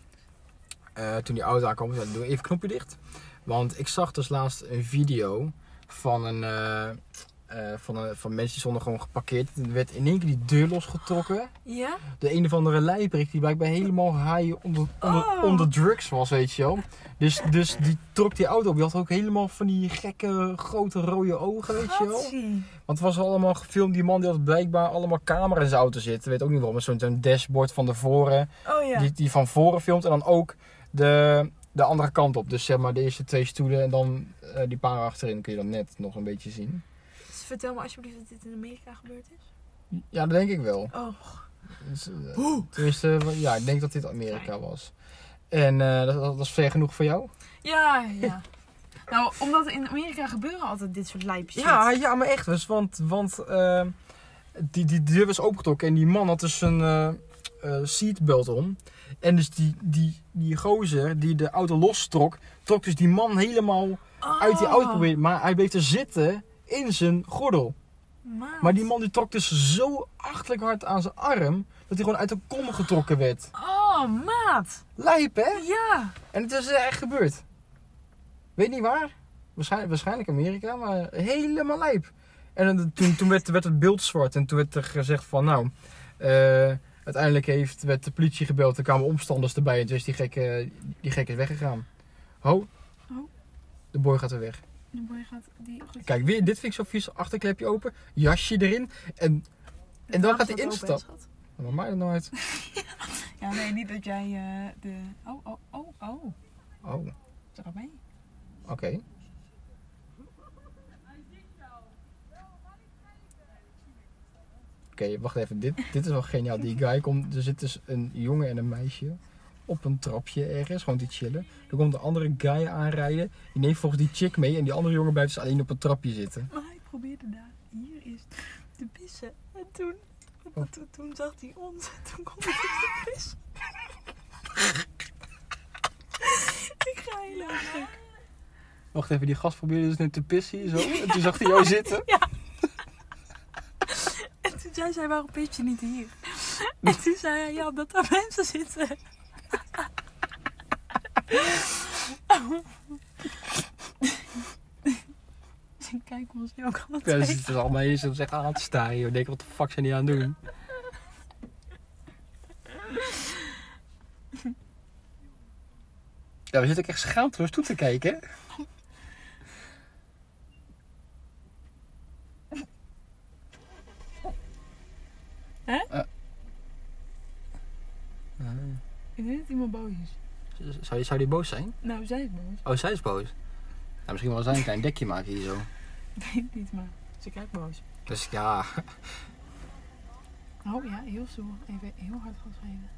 Speaker 1: eh, toen die auto aankwam, zei, doe even het knopje dicht. Want ik zag dus laatst een video van, een, eh, eh, van, een, van mensen die stonden gewoon geparkeerd. Er werd in één keer die deur losgetrokken.
Speaker 2: Ja?
Speaker 1: de een of andere lijperik die blijkbaar helemaal high onder, onder,
Speaker 2: Oh.
Speaker 1: onder drugs was, weet je wel. Dus, dus die trok die auto op. Die had ook helemaal van die gekke grote rode ogen, weet je wel.
Speaker 2: Gatsie.
Speaker 1: Want het was allemaal gefilmd. Die man die had blijkbaar allemaal camera's in zijn auto zitten. Weet ook niet waarom. maar Zo'n zo'n dashboard van de voren.
Speaker 2: Oh ja.
Speaker 1: Die, die van voren filmt en dan ook de, de andere kant op. Dus zeg maar de eerste twee stoelen en dan eh, die paar achterin kun je dan net nog een beetje zien.
Speaker 2: Dus vertel me alsjeblieft dat dit in Amerika gebeurd is.
Speaker 1: Ja, dat denk ik wel.
Speaker 2: Oh.
Speaker 1: Dus, eh, Tenminste, w- ja, ik denk dat dit Amerika was. En eh, dat, dat, dat is ver genoeg voor jou?
Speaker 2: Ja, ja. nou, omdat in Amerika gebeuren altijd dit soort lijpjes.
Speaker 1: Ja, ja, maar echt. Dus, want want eh, die, die deur was opengetrokken en die man had dus een eh eh, seatbelt om. En dus die, die, die gozer die de auto lostrok, trok dus die man helemaal
Speaker 2: Oh.
Speaker 1: uit die auto. proberen- Maar hij bleef er zitten in zijn gordel.
Speaker 2: Maat.
Speaker 1: Maar die man die trok dus zo achterlijk hard aan zijn arm, dat hij gewoon uit de kom getrokken werd.
Speaker 2: Oh, maat.
Speaker 1: Lijp, hè?
Speaker 2: Ja.
Speaker 1: En het is eh, echt gebeurd. Weet niet waar. Waarschijnlijk, waarschijnlijk Amerika, maar helemaal lijp. En dan- toen, toen werd, werd het beeld zwart en toen werd er gezegd van nou... eh, uiteindelijk heeft, werd de politie gebeld, er kwamen omstanders erbij en toen is die gek, eh, die gek is weggegaan. Ho.
Speaker 2: Ho.
Speaker 1: De boy gaat er weg.
Speaker 2: De boy gaat die goed.
Speaker 1: Kijk, weer, dit vind ik zo vies. Achterklepje open, jasje erin en... en dan
Speaker 2: raam
Speaker 1: gaat hij
Speaker 2: staat open,
Speaker 1: instappen.
Speaker 2: schat.
Speaker 1: Maar mij dat nou uit.
Speaker 2: Ja, nee, niet dat jij eh, de... Oh, oh, oh, oh.
Speaker 1: Oh, oké.
Speaker 2: Is er al mee?
Speaker 1: Oké, wacht even. Dit, dit is wel geniaal. Die guy komt. Er zit dus een jongen en een meisje op een trapje ergens, gewoon te chillen. Er komt een andere guy aanrijden. Die neemt volgens die chick mee en die andere jongen blijft dus alleen op een trapje zitten.
Speaker 2: Maar hij probeerde daar hier eerst te pissen. En toen,
Speaker 1: Oh.
Speaker 2: toen, toen zag hij ons en toen kon hij niet te pissen. Ik ga helemaal gek.
Speaker 1: Wacht even, die gast probeerde dus net te pissen hier zo. En toen zag hij jou zitten.
Speaker 2: En toen zei zij, waarom pis je niet hier? En toen zei hij, ja, omdat daar mensen zitten. Dus ik kijk ons nu ook al
Speaker 1: Ja, ze
Speaker 2: twee.
Speaker 1: zitten dus allemaal eens en zeggen aan te staren. joh. Ik denk, wat de fuck zijn die aan het doen? Ja, we zitten ook echt schaamteloos toe te kijken. hè?
Speaker 2: Hè?
Speaker 1: Eh. Eh,
Speaker 2: Ik denk dat iemand boos is.
Speaker 1: z- Zou, die- zou die boos zijn?
Speaker 2: Nou, zij is boos.
Speaker 1: Oh, zij is boos. Nou, misschien wel zij een klein dekje maken hier zo.
Speaker 2: Weet ik niet, maar ze kijkt boos.
Speaker 1: Dus ja,
Speaker 2: Oh ja, heel stoer. Even heel hard gas geven.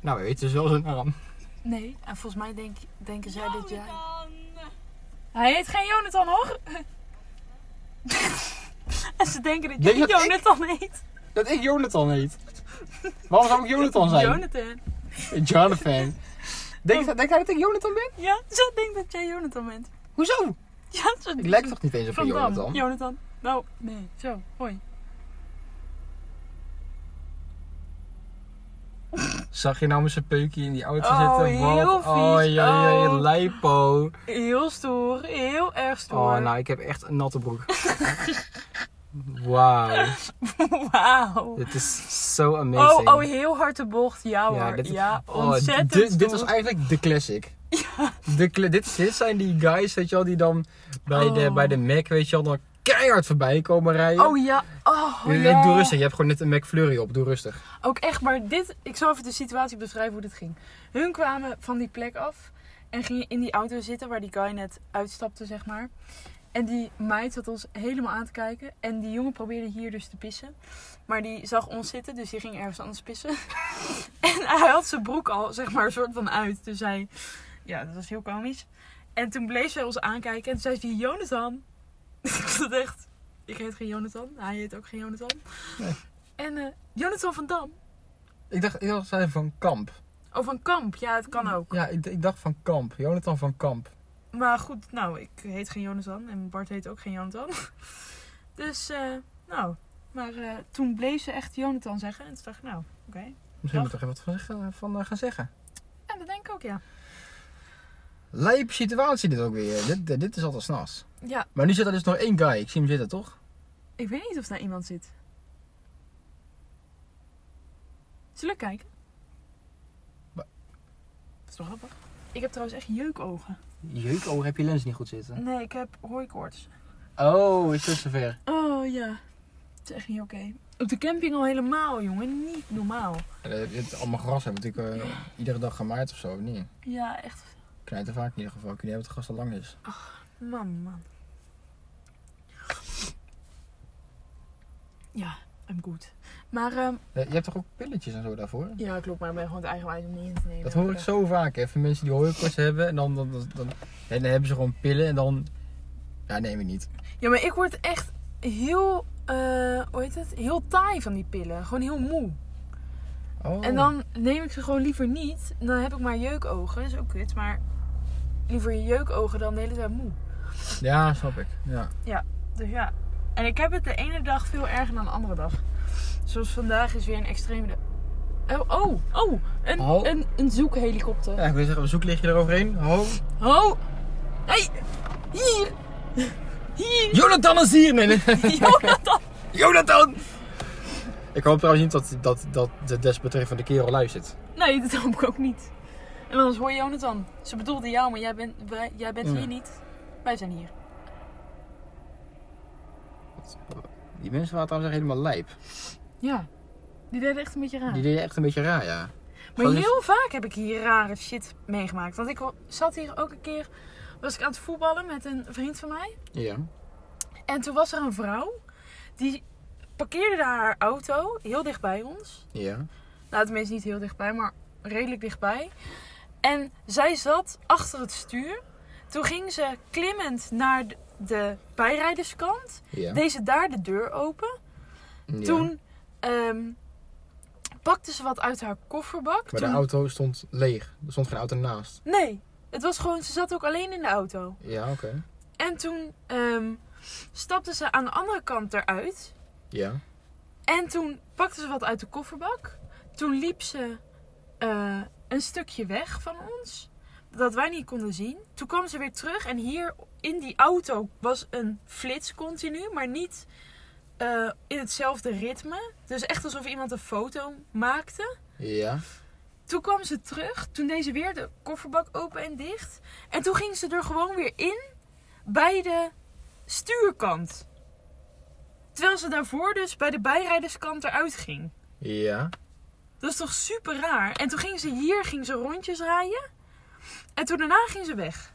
Speaker 1: Nou, weet je, wel zijn naam.
Speaker 2: Nee, en volgens mij denk, denken zij dat jij...
Speaker 3: Jonathan.
Speaker 2: Hij heet geen Jonathan hoor. en ze denken dat
Speaker 1: Denk
Speaker 2: jij
Speaker 1: dat ik-
Speaker 2: Jonathan heet.
Speaker 1: Dat ik Jonathan heet. Waarom zou ik Jonathan zijn?
Speaker 2: Jonathan. Oh.
Speaker 1: Jonathan. Denk, denk jij dat ik Jonathan ben?
Speaker 2: Ja, ze denkt dat jij Jonathan bent.
Speaker 1: Hoezo?
Speaker 2: Ja, ze
Speaker 1: Ik lijk toch niet eens op een
Speaker 2: Van Dam.
Speaker 1: Jonathan?
Speaker 2: Jonathan. Nou, nee. Zo, hoi.
Speaker 1: Zag je nou met zijn peukje in die auto
Speaker 2: Oh,
Speaker 1: zitten?
Speaker 2: heel
Speaker 1: Wat? Oh,
Speaker 2: vies.
Speaker 1: ja, ja,
Speaker 2: Oh.
Speaker 1: lijpo.
Speaker 2: Heel stoer. Heel erg stoer.
Speaker 1: Oh, nou, ik heb echt een natte broek. Wauw.
Speaker 2: Wauw.
Speaker 1: Dit is so
Speaker 2: Oh,
Speaker 1: amazing.
Speaker 2: oh, heel hard de bocht. Ja hoor. Ja,
Speaker 1: dit is- oh,
Speaker 2: ontzettend
Speaker 1: dit, dit
Speaker 2: stoer.
Speaker 1: was eigenlijk de classic. De cla- dit, dit zijn die guys, weet je wel, die dan bij, de,
Speaker 2: Oh.
Speaker 1: bij de Mac, weet je wel, dan keihard voorbij komen rijden.
Speaker 2: Oh ja. Oh,
Speaker 1: Nee, nee,
Speaker 2: ja.
Speaker 1: Doe rustig, je hebt gewoon net een McFlurry op, doe rustig.
Speaker 2: Ook echt, maar dit... Ik zal even de situatie beschrijven hoe dit ging. Hun kwamen van die plek af en gingen in die auto zitten waar die guy net uitstapte, zeg maar. En die meid zat ons helemaal aan te kijken. En die jongen probeerde hier dus te pissen. Maar die zag ons zitten, dus die ging ergens anders pissen. en hij had zijn broek al, zeg maar, soort van uit. Dus hij... Ja, dat was heel komisch. En toen bleef zij ons aankijken en toen zei ze, Jonathan. ik vond het echt... Ik heet geen Jonathan. Hij heet ook geen Jonathan.
Speaker 1: Nee.
Speaker 2: En eh, Jonathan van Dam.
Speaker 1: Ik dacht, ik dacht zij van Kamp.
Speaker 2: Oh, van Kamp. Ja, het kan ook.
Speaker 1: Ja, ik, ik dacht van Kamp. Jonathan van Kamp.
Speaker 2: Maar goed, nou, ik heet geen Jonathan en Bart heet ook geen Jonathan. Dus, eh, nou. Maar eh, toen bleef ze echt Jonathan zeggen. En toen dacht ik, nou, oké.
Speaker 1: Misschien moet ik er wat van, zeggen- van eh, gaan zeggen.
Speaker 2: Ja, dat denk ik ook, ja.
Speaker 1: Lijp situatie dit ook weer. Dit, dit- dit is altijd s'nachts.
Speaker 2: Ja,
Speaker 1: Maar nu zit er dus nog één guy. Ik zie hem zitten, toch?
Speaker 2: ik weet niet of daar iemand zit. Zullen we kijken?
Speaker 1: Ba-
Speaker 2: Dat is toch grappig? Ik heb trouwens echt jeukogen.
Speaker 1: Jeuk, oh, heb je lens niet goed zitten?
Speaker 2: Nee, ik heb hooikoorts.
Speaker 1: Oh, is het zover?
Speaker 2: Oh ja, het is echt niet oké. Op de camping al helemaal, jongen. Niet normaal.
Speaker 1: Eh, allemaal gras hebben natuurlijk eh, iedere dag gemaaid of zo, niet?
Speaker 2: Ja, echt
Speaker 1: Knijt er vaak in ieder geval. Ik weet niet of het gras al lang is.
Speaker 2: Man, man. Ja, I'm good. Maar, ehm,
Speaker 1: Eh, Je hebt toch ook pilletjes en zo daarvoor?
Speaker 2: ja, klopt, maar ik ben gewoon het eigenwijs om niet in te nemen.
Speaker 1: Dat hoor ik zo vaak, hè. Van mensen die hooikoorts hebben en dan, dan, dan, dan- en dan hebben ze gewoon pillen en dan... Ja, neem ik niet.
Speaker 2: Ja, maar ik word echt heel, eh, hoe heet het? Heel taai van die pillen. Gewoon heel moe.
Speaker 1: Oh.
Speaker 2: En dan neem ik ze gewoon liever niet. Dan heb ik maar jeukogen. Dat is ook kut, maar liever jeukogen dan de hele tijd moe.
Speaker 1: Ja, snap ik. Ja.
Speaker 2: Dus ja. En ik heb het de ene dag veel erger dan de andere dag. Zoals vandaag is weer een extreme... de- Oh, oh, oh, een,
Speaker 1: Oh.
Speaker 2: Een, een zoekhelikopter.
Speaker 1: ja ik wil zeggen, zoek lig je eroverheen. Ho.
Speaker 2: Ho! Hey! Hier! Hier!
Speaker 1: Jonathan is hier! Nee, nee.
Speaker 2: Jonathan!
Speaker 1: Jonathan! Ik hoop trouwens niet dat, dat, dat de desbetreffende kerel luistert.
Speaker 2: Nee, dat hoop ik ook niet. En anders hoor je Jonathan. Ze bedoelde jou, maar jij bent, wij- jij bent
Speaker 1: Ja.
Speaker 2: hier niet. Wij zijn hier.
Speaker 1: Die mensen waren trouwens echt helemaal lijp.
Speaker 2: Ja. Die deden echt een beetje raar.
Speaker 1: Die deden echt een beetje raar, ja.
Speaker 2: Maar
Speaker 1: Gewoon
Speaker 2: heel vaak heb ik hier rare shit meegemaakt. Want ik zat hier ook een keer... Was ik aan het voetballen met een vriend van mij.
Speaker 1: eens- Ja.
Speaker 2: En toen was er een vrouw. Die parkeerde daar haar auto. Heel dicht bij ons.
Speaker 1: Ja.
Speaker 2: Nou, tenminste niet heel dichtbij, maar redelijk dichtbij. En zij zat achter het stuur. Toen ging ze klimmend naar de- de bijrijderskant.
Speaker 1: Ja.
Speaker 2: Deed ze daar de deur open.
Speaker 1: Ja.
Speaker 2: Toen ehm, pakte ze wat uit haar kofferbak.
Speaker 1: Maar
Speaker 2: Toen...
Speaker 1: de auto stond leeg. Er stond geen auto naast.
Speaker 2: Nee, het was gewoon, ze zat ook alleen in de auto.
Speaker 1: Ja, oké.
Speaker 2: En toen ehm, stapte ze aan de andere kant eruit.
Speaker 1: Ja.
Speaker 2: En toen pakte ze wat uit de kofferbak. Toen liep ze eh, een stukje weg van ons. Dat wij niet konden zien. Toen kwam ze weer terug. En hier in die auto was een flits continu. Maar niet eh, in hetzelfde ritme. Dus echt alsof iemand een foto maakte.
Speaker 1: Ja.
Speaker 2: Toen kwam ze terug. Toen deed ze weer de kofferbak open en dicht. En toen ging ze er gewoon weer in bij de stuurkant. Terwijl ze daarvoor dus bij de bijrijderskant eruit ging.
Speaker 1: Ja.
Speaker 2: Dat is toch super raar? En toen ging ze hier ging ze rondjes rijden. En toen daarna ging ze weg.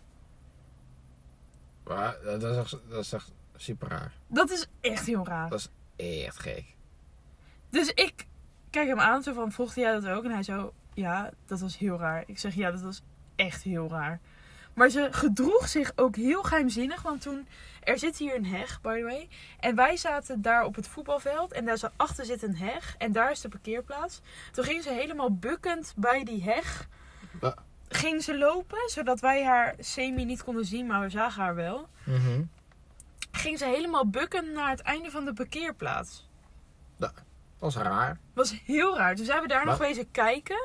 Speaker 1: Maar dat is echt, dat is echt super raar.
Speaker 2: Dat is echt heel raar.
Speaker 1: Dat is echt gek.
Speaker 2: Dus ik kijk hem aan, zo van, volgde jij dat ook? En hij zo, ja, dat was heel raar. Ik zeg, ja, dat was echt heel raar. Maar ze gedroeg zich ook heel geheimzinnig. Want toen, er zit hier een heg, by the way. En wij zaten daar op het voetbalveld. En daar za- achter zit een heg. En daar is de parkeerplaats. Toen ging ze helemaal bukkend bij die heg.
Speaker 1: Ja.
Speaker 2: Ging ze lopen, zodat wij haar semi niet konden zien. Maar we zagen haar wel.
Speaker 1: Mhm.
Speaker 2: Ging ze helemaal bukkend naar het einde van de parkeerplaats.
Speaker 1: Dat is raar.
Speaker 2: was heel raar. Dus we hebben daar
Speaker 1: Maar-
Speaker 2: nog wezen kijken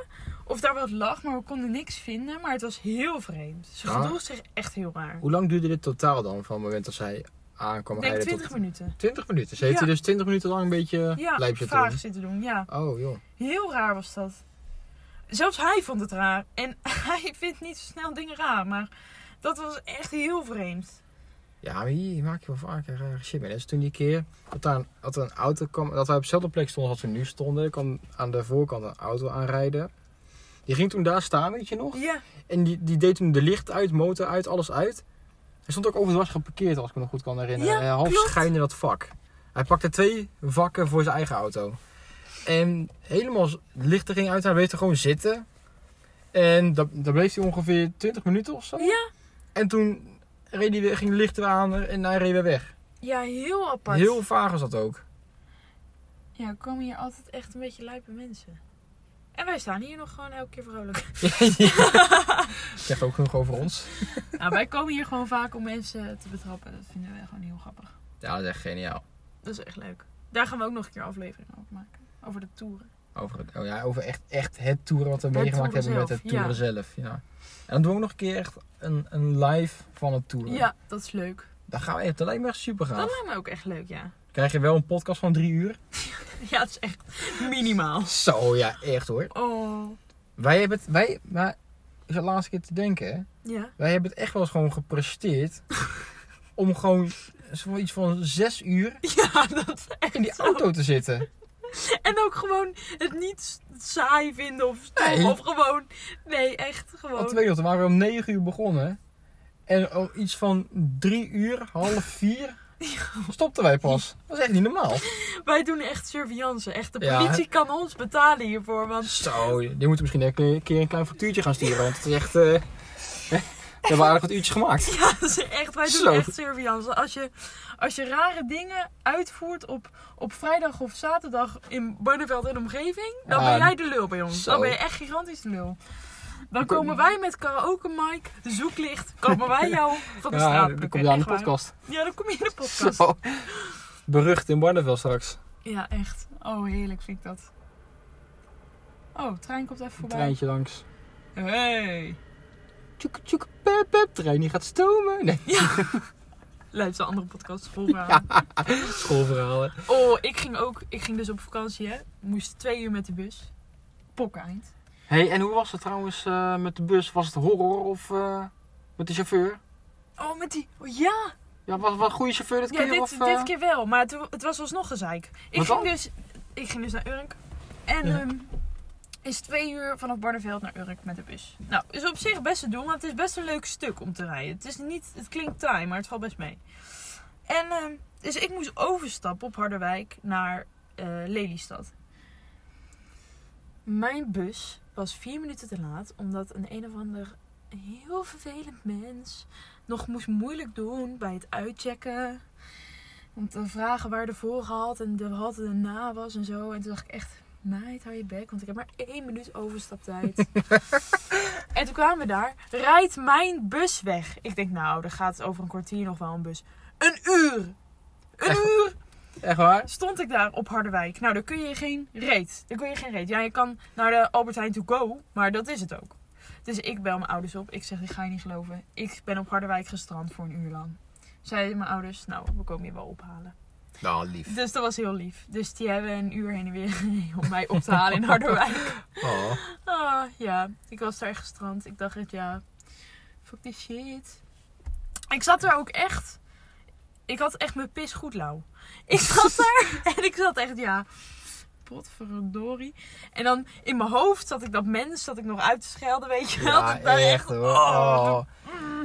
Speaker 2: of daar wat lag, maar we konden niks vinden. Maar het was heel vreemd. Ze
Speaker 1: Ja.
Speaker 2: gedroeg zich echt heel raar.
Speaker 1: Hoe lang duurde dit totaal dan? Van het moment dat zij aankwam
Speaker 2: Ik denk
Speaker 1: rijden
Speaker 2: 20
Speaker 1: tot...
Speaker 2: minuten.
Speaker 1: 20 minuten. Ze heeft
Speaker 2: Ja.
Speaker 1: hier dus 20 minuten lang een beetje
Speaker 2: Ja,
Speaker 1: lijp zitten
Speaker 2: vragen
Speaker 1: doen.
Speaker 2: zitten doen. Ja,
Speaker 1: Oh joh.
Speaker 2: heel raar was dat. Zelfs hij vond het raar. En hij vindt niet zo snel dingen raar, maar dat was echt heel vreemd.
Speaker 1: Ja, maar hier maak je wel vaker rare shit mee. Dat is toen die keer dat, daar een, dat er een auto kwam, dat wij op dezelfde plek stonden als we nu stonden. Er kwam aan de voorkant een auto aanrijden. Die ging toen daar staan, weet je nog?
Speaker 2: Ja,
Speaker 1: En die, die deed toen de licht uit, motor uit, alles uit. Hij stond ook overdwars geparkeerd, als ik me nog goed kan herinneren.
Speaker 2: Ja,
Speaker 1: Hij half
Speaker 2: klopt.
Speaker 1: schijnde dat vak. Hij pakte twee vakken voor zijn eigen auto. En helemaal z- het licht er ging uit, hij bleef er gewoon zitten. En daar daar bleef hij ongeveer 20 minuten of zo.
Speaker 2: ja.
Speaker 1: En toen reed hij weer, ging de lichten weer aan en hij reed weer weg.
Speaker 2: ja heel apart.
Speaker 1: Heel vaag was dat ook.
Speaker 2: Ja, er komen hier altijd echt een beetje lijpe mensen. En wij staan hier nog gewoon elke keer vrolijk.
Speaker 1: Zegt ook genoeg over ons.
Speaker 2: Nou, wij komen hier gewoon vaak om mensen te betrappen. Dat vinden wij gewoon heel grappig.
Speaker 1: Ja, dat is echt geniaal.
Speaker 2: Dat is echt leuk. Daar gaan we ook nog een keer aflevering over maken. Over de toeren.
Speaker 1: Over, het, oh ja, over echt, echt het toeren wat we
Speaker 2: Het
Speaker 1: meegemaakt
Speaker 2: toeren
Speaker 1: hebben met
Speaker 2: zelf,
Speaker 1: het toeren
Speaker 2: ja.
Speaker 1: zelf. Ja. En dan doen we ook nog een keer echt een, een live van het toeren.
Speaker 2: Ja, dat is leuk.
Speaker 1: Dan gaan we echt, dat lijkt me echt super
Speaker 2: Dat
Speaker 1: gaaf.
Speaker 2: lijkt me ook echt leuk, ja.
Speaker 1: Krijg je wel een podcast van drie uur?
Speaker 2: Ja, dat is echt minimaal.
Speaker 1: Zo ja, echt hoor.
Speaker 2: Oh.
Speaker 1: Wij hebben het, wij, maar is het laatste keer te denken hè.
Speaker 2: Ja.
Speaker 1: Wij hebben het echt wel eens gewoon gepresteerd om gewoon zoiets van zes uur
Speaker 2: Ja, dat is echt
Speaker 1: in die
Speaker 2: zo.
Speaker 1: auto te zitten.
Speaker 2: En ook gewoon het niet s- saai vinden of stom.
Speaker 1: Nee.
Speaker 2: Of gewoon... Oh, Nee, echt
Speaker 1: Want
Speaker 2: gewoon.
Speaker 1: weet je wat, Oh, we waren om 9 uur begonnen. En al iets van 3 uur, half 4 stopten wij pas. Dat is echt niet normaal.
Speaker 2: Wij doen echt surveillance. Echt, de
Speaker 1: Ja.
Speaker 2: politie kan ons betalen hiervoor. Want
Speaker 1: Zo, die moeten misschien een keer een klein factuurtje gaan sturen. Want het is echt. eh, we hebben aardig wat uurtjes gemaakt.
Speaker 2: Ja, dat is echt, wij doen
Speaker 1: Zo.
Speaker 2: echt surveillance. Als je, als je rare dingen uitvoert op, op vrijdag of zaterdag in Barneveld en omgeving, dan
Speaker 1: Ja.
Speaker 2: ben jij de lul bij ons.
Speaker 1: Zo.
Speaker 2: Dan ben je echt gigantisch de lul. Dan komen wij met karaoke mic, zoeklicht, komen wij jou van de straat
Speaker 1: Ja, dan kom je
Speaker 2: plukken.
Speaker 1: aan de
Speaker 2: Echt waar.
Speaker 1: podcast.
Speaker 2: Ja, dan kom je in de podcast.
Speaker 1: Zo. Berucht in Barneveld straks.
Speaker 2: Ja, echt. Oh, heerlijk vind ik dat. Oh, trein komt even voorbij.
Speaker 1: Treintje langs.
Speaker 2: Hey.
Speaker 1: Tjoek, tjoek, pep, pep. Trein die gaat stomen. Nee,
Speaker 2: Luister de andere podcast vooraan.
Speaker 1: schoolverhalen.
Speaker 2: Oh, ik ging ook. Ik ging dus op vakantie, hè? Moest twee uur met de bus. Pokken eind.
Speaker 1: hey, en hoe was het trouwens eh, met de bus? Was het horror of eh, met de chauffeur?
Speaker 2: Oh, met die. Oh, ja,
Speaker 1: Ja, was was een goede chauffeur dit
Speaker 2: ja
Speaker 1: keer?
Speaker 2: dit,
Speaker 1: of, eh?
Speaker 2: dit keer wel. Maar het, het was alsnog gezeik. Ik
Speaker 1: Wat
Speaker 2: ging,
Speaker 1: dan?
Speaker 2: dus, ik ging dus naar Urk. En
Speaker 1: Ja.
Speaker 2: ehm, is twee uur vanaf Barneveld naar Urk met de bus. Nou, is op zich best te doen, want het is best een leuk stuk om te rijden. Het, is niet, het klinkt taai, maar het valt best mee. En ehm, dus ik moest overstappen op Harderwijk naar eh, Lelystad. Mijn bus was vier minuten te laat, omdat een een of ander heel vervelend mens nog moest moeilijk doen bij het uitchecken. Om te vragen waar de voor had en de had en de na was en zo. En toen dacht ik echt, meid, hou je bek, want ik heb maar één minuut overstaptijd. en toen kwamen we daar, rijdt mijn bus weg. Ik denk, nou, er gaat over een kwartier nog wel een bus. Een uur! Een uur!
Speaker 1: Echt waar?
Speaker 2: stond ik daar op Harderwijk. Nou, daar kun je geen reet. Daar kun je geen reet. Ja, je kan naar de Albert Heijn to go, maar dat is het ook. Dus ik bel mijn ouders op. Ik zeg, dit ga je niet geloven. Ik ben op Harderwijk gestrand voor een uur lang. Zeiden mijn ouders, nou, we komen je wel ophalen.
Speaker 1: Nou, lief.
Speaker 2: Dus dat was heel lief. Dus die hebben een uur heen en weer gereden om mij op te halen in Harderwijk.
Speaker 1: Oh.
Speaker 2: Ah, ja. Ik was daar echt gestrand. Ik dacht echt, ja, fuck this shit. Ik zat er ook echt... Ik had echt mijn pis goed lauw. Ik zat daar en ik zat echt, ja, potverdorie. En dan in mijn hoofd zat ik dat mens, zat ik nog uit te schelden, weet je wel. Dat
Speaker 1: Ja,
Speaker 2: ik daar
Speaker 1: echt hoor.
Speaker 2: oh.
Speaker 1: Oh.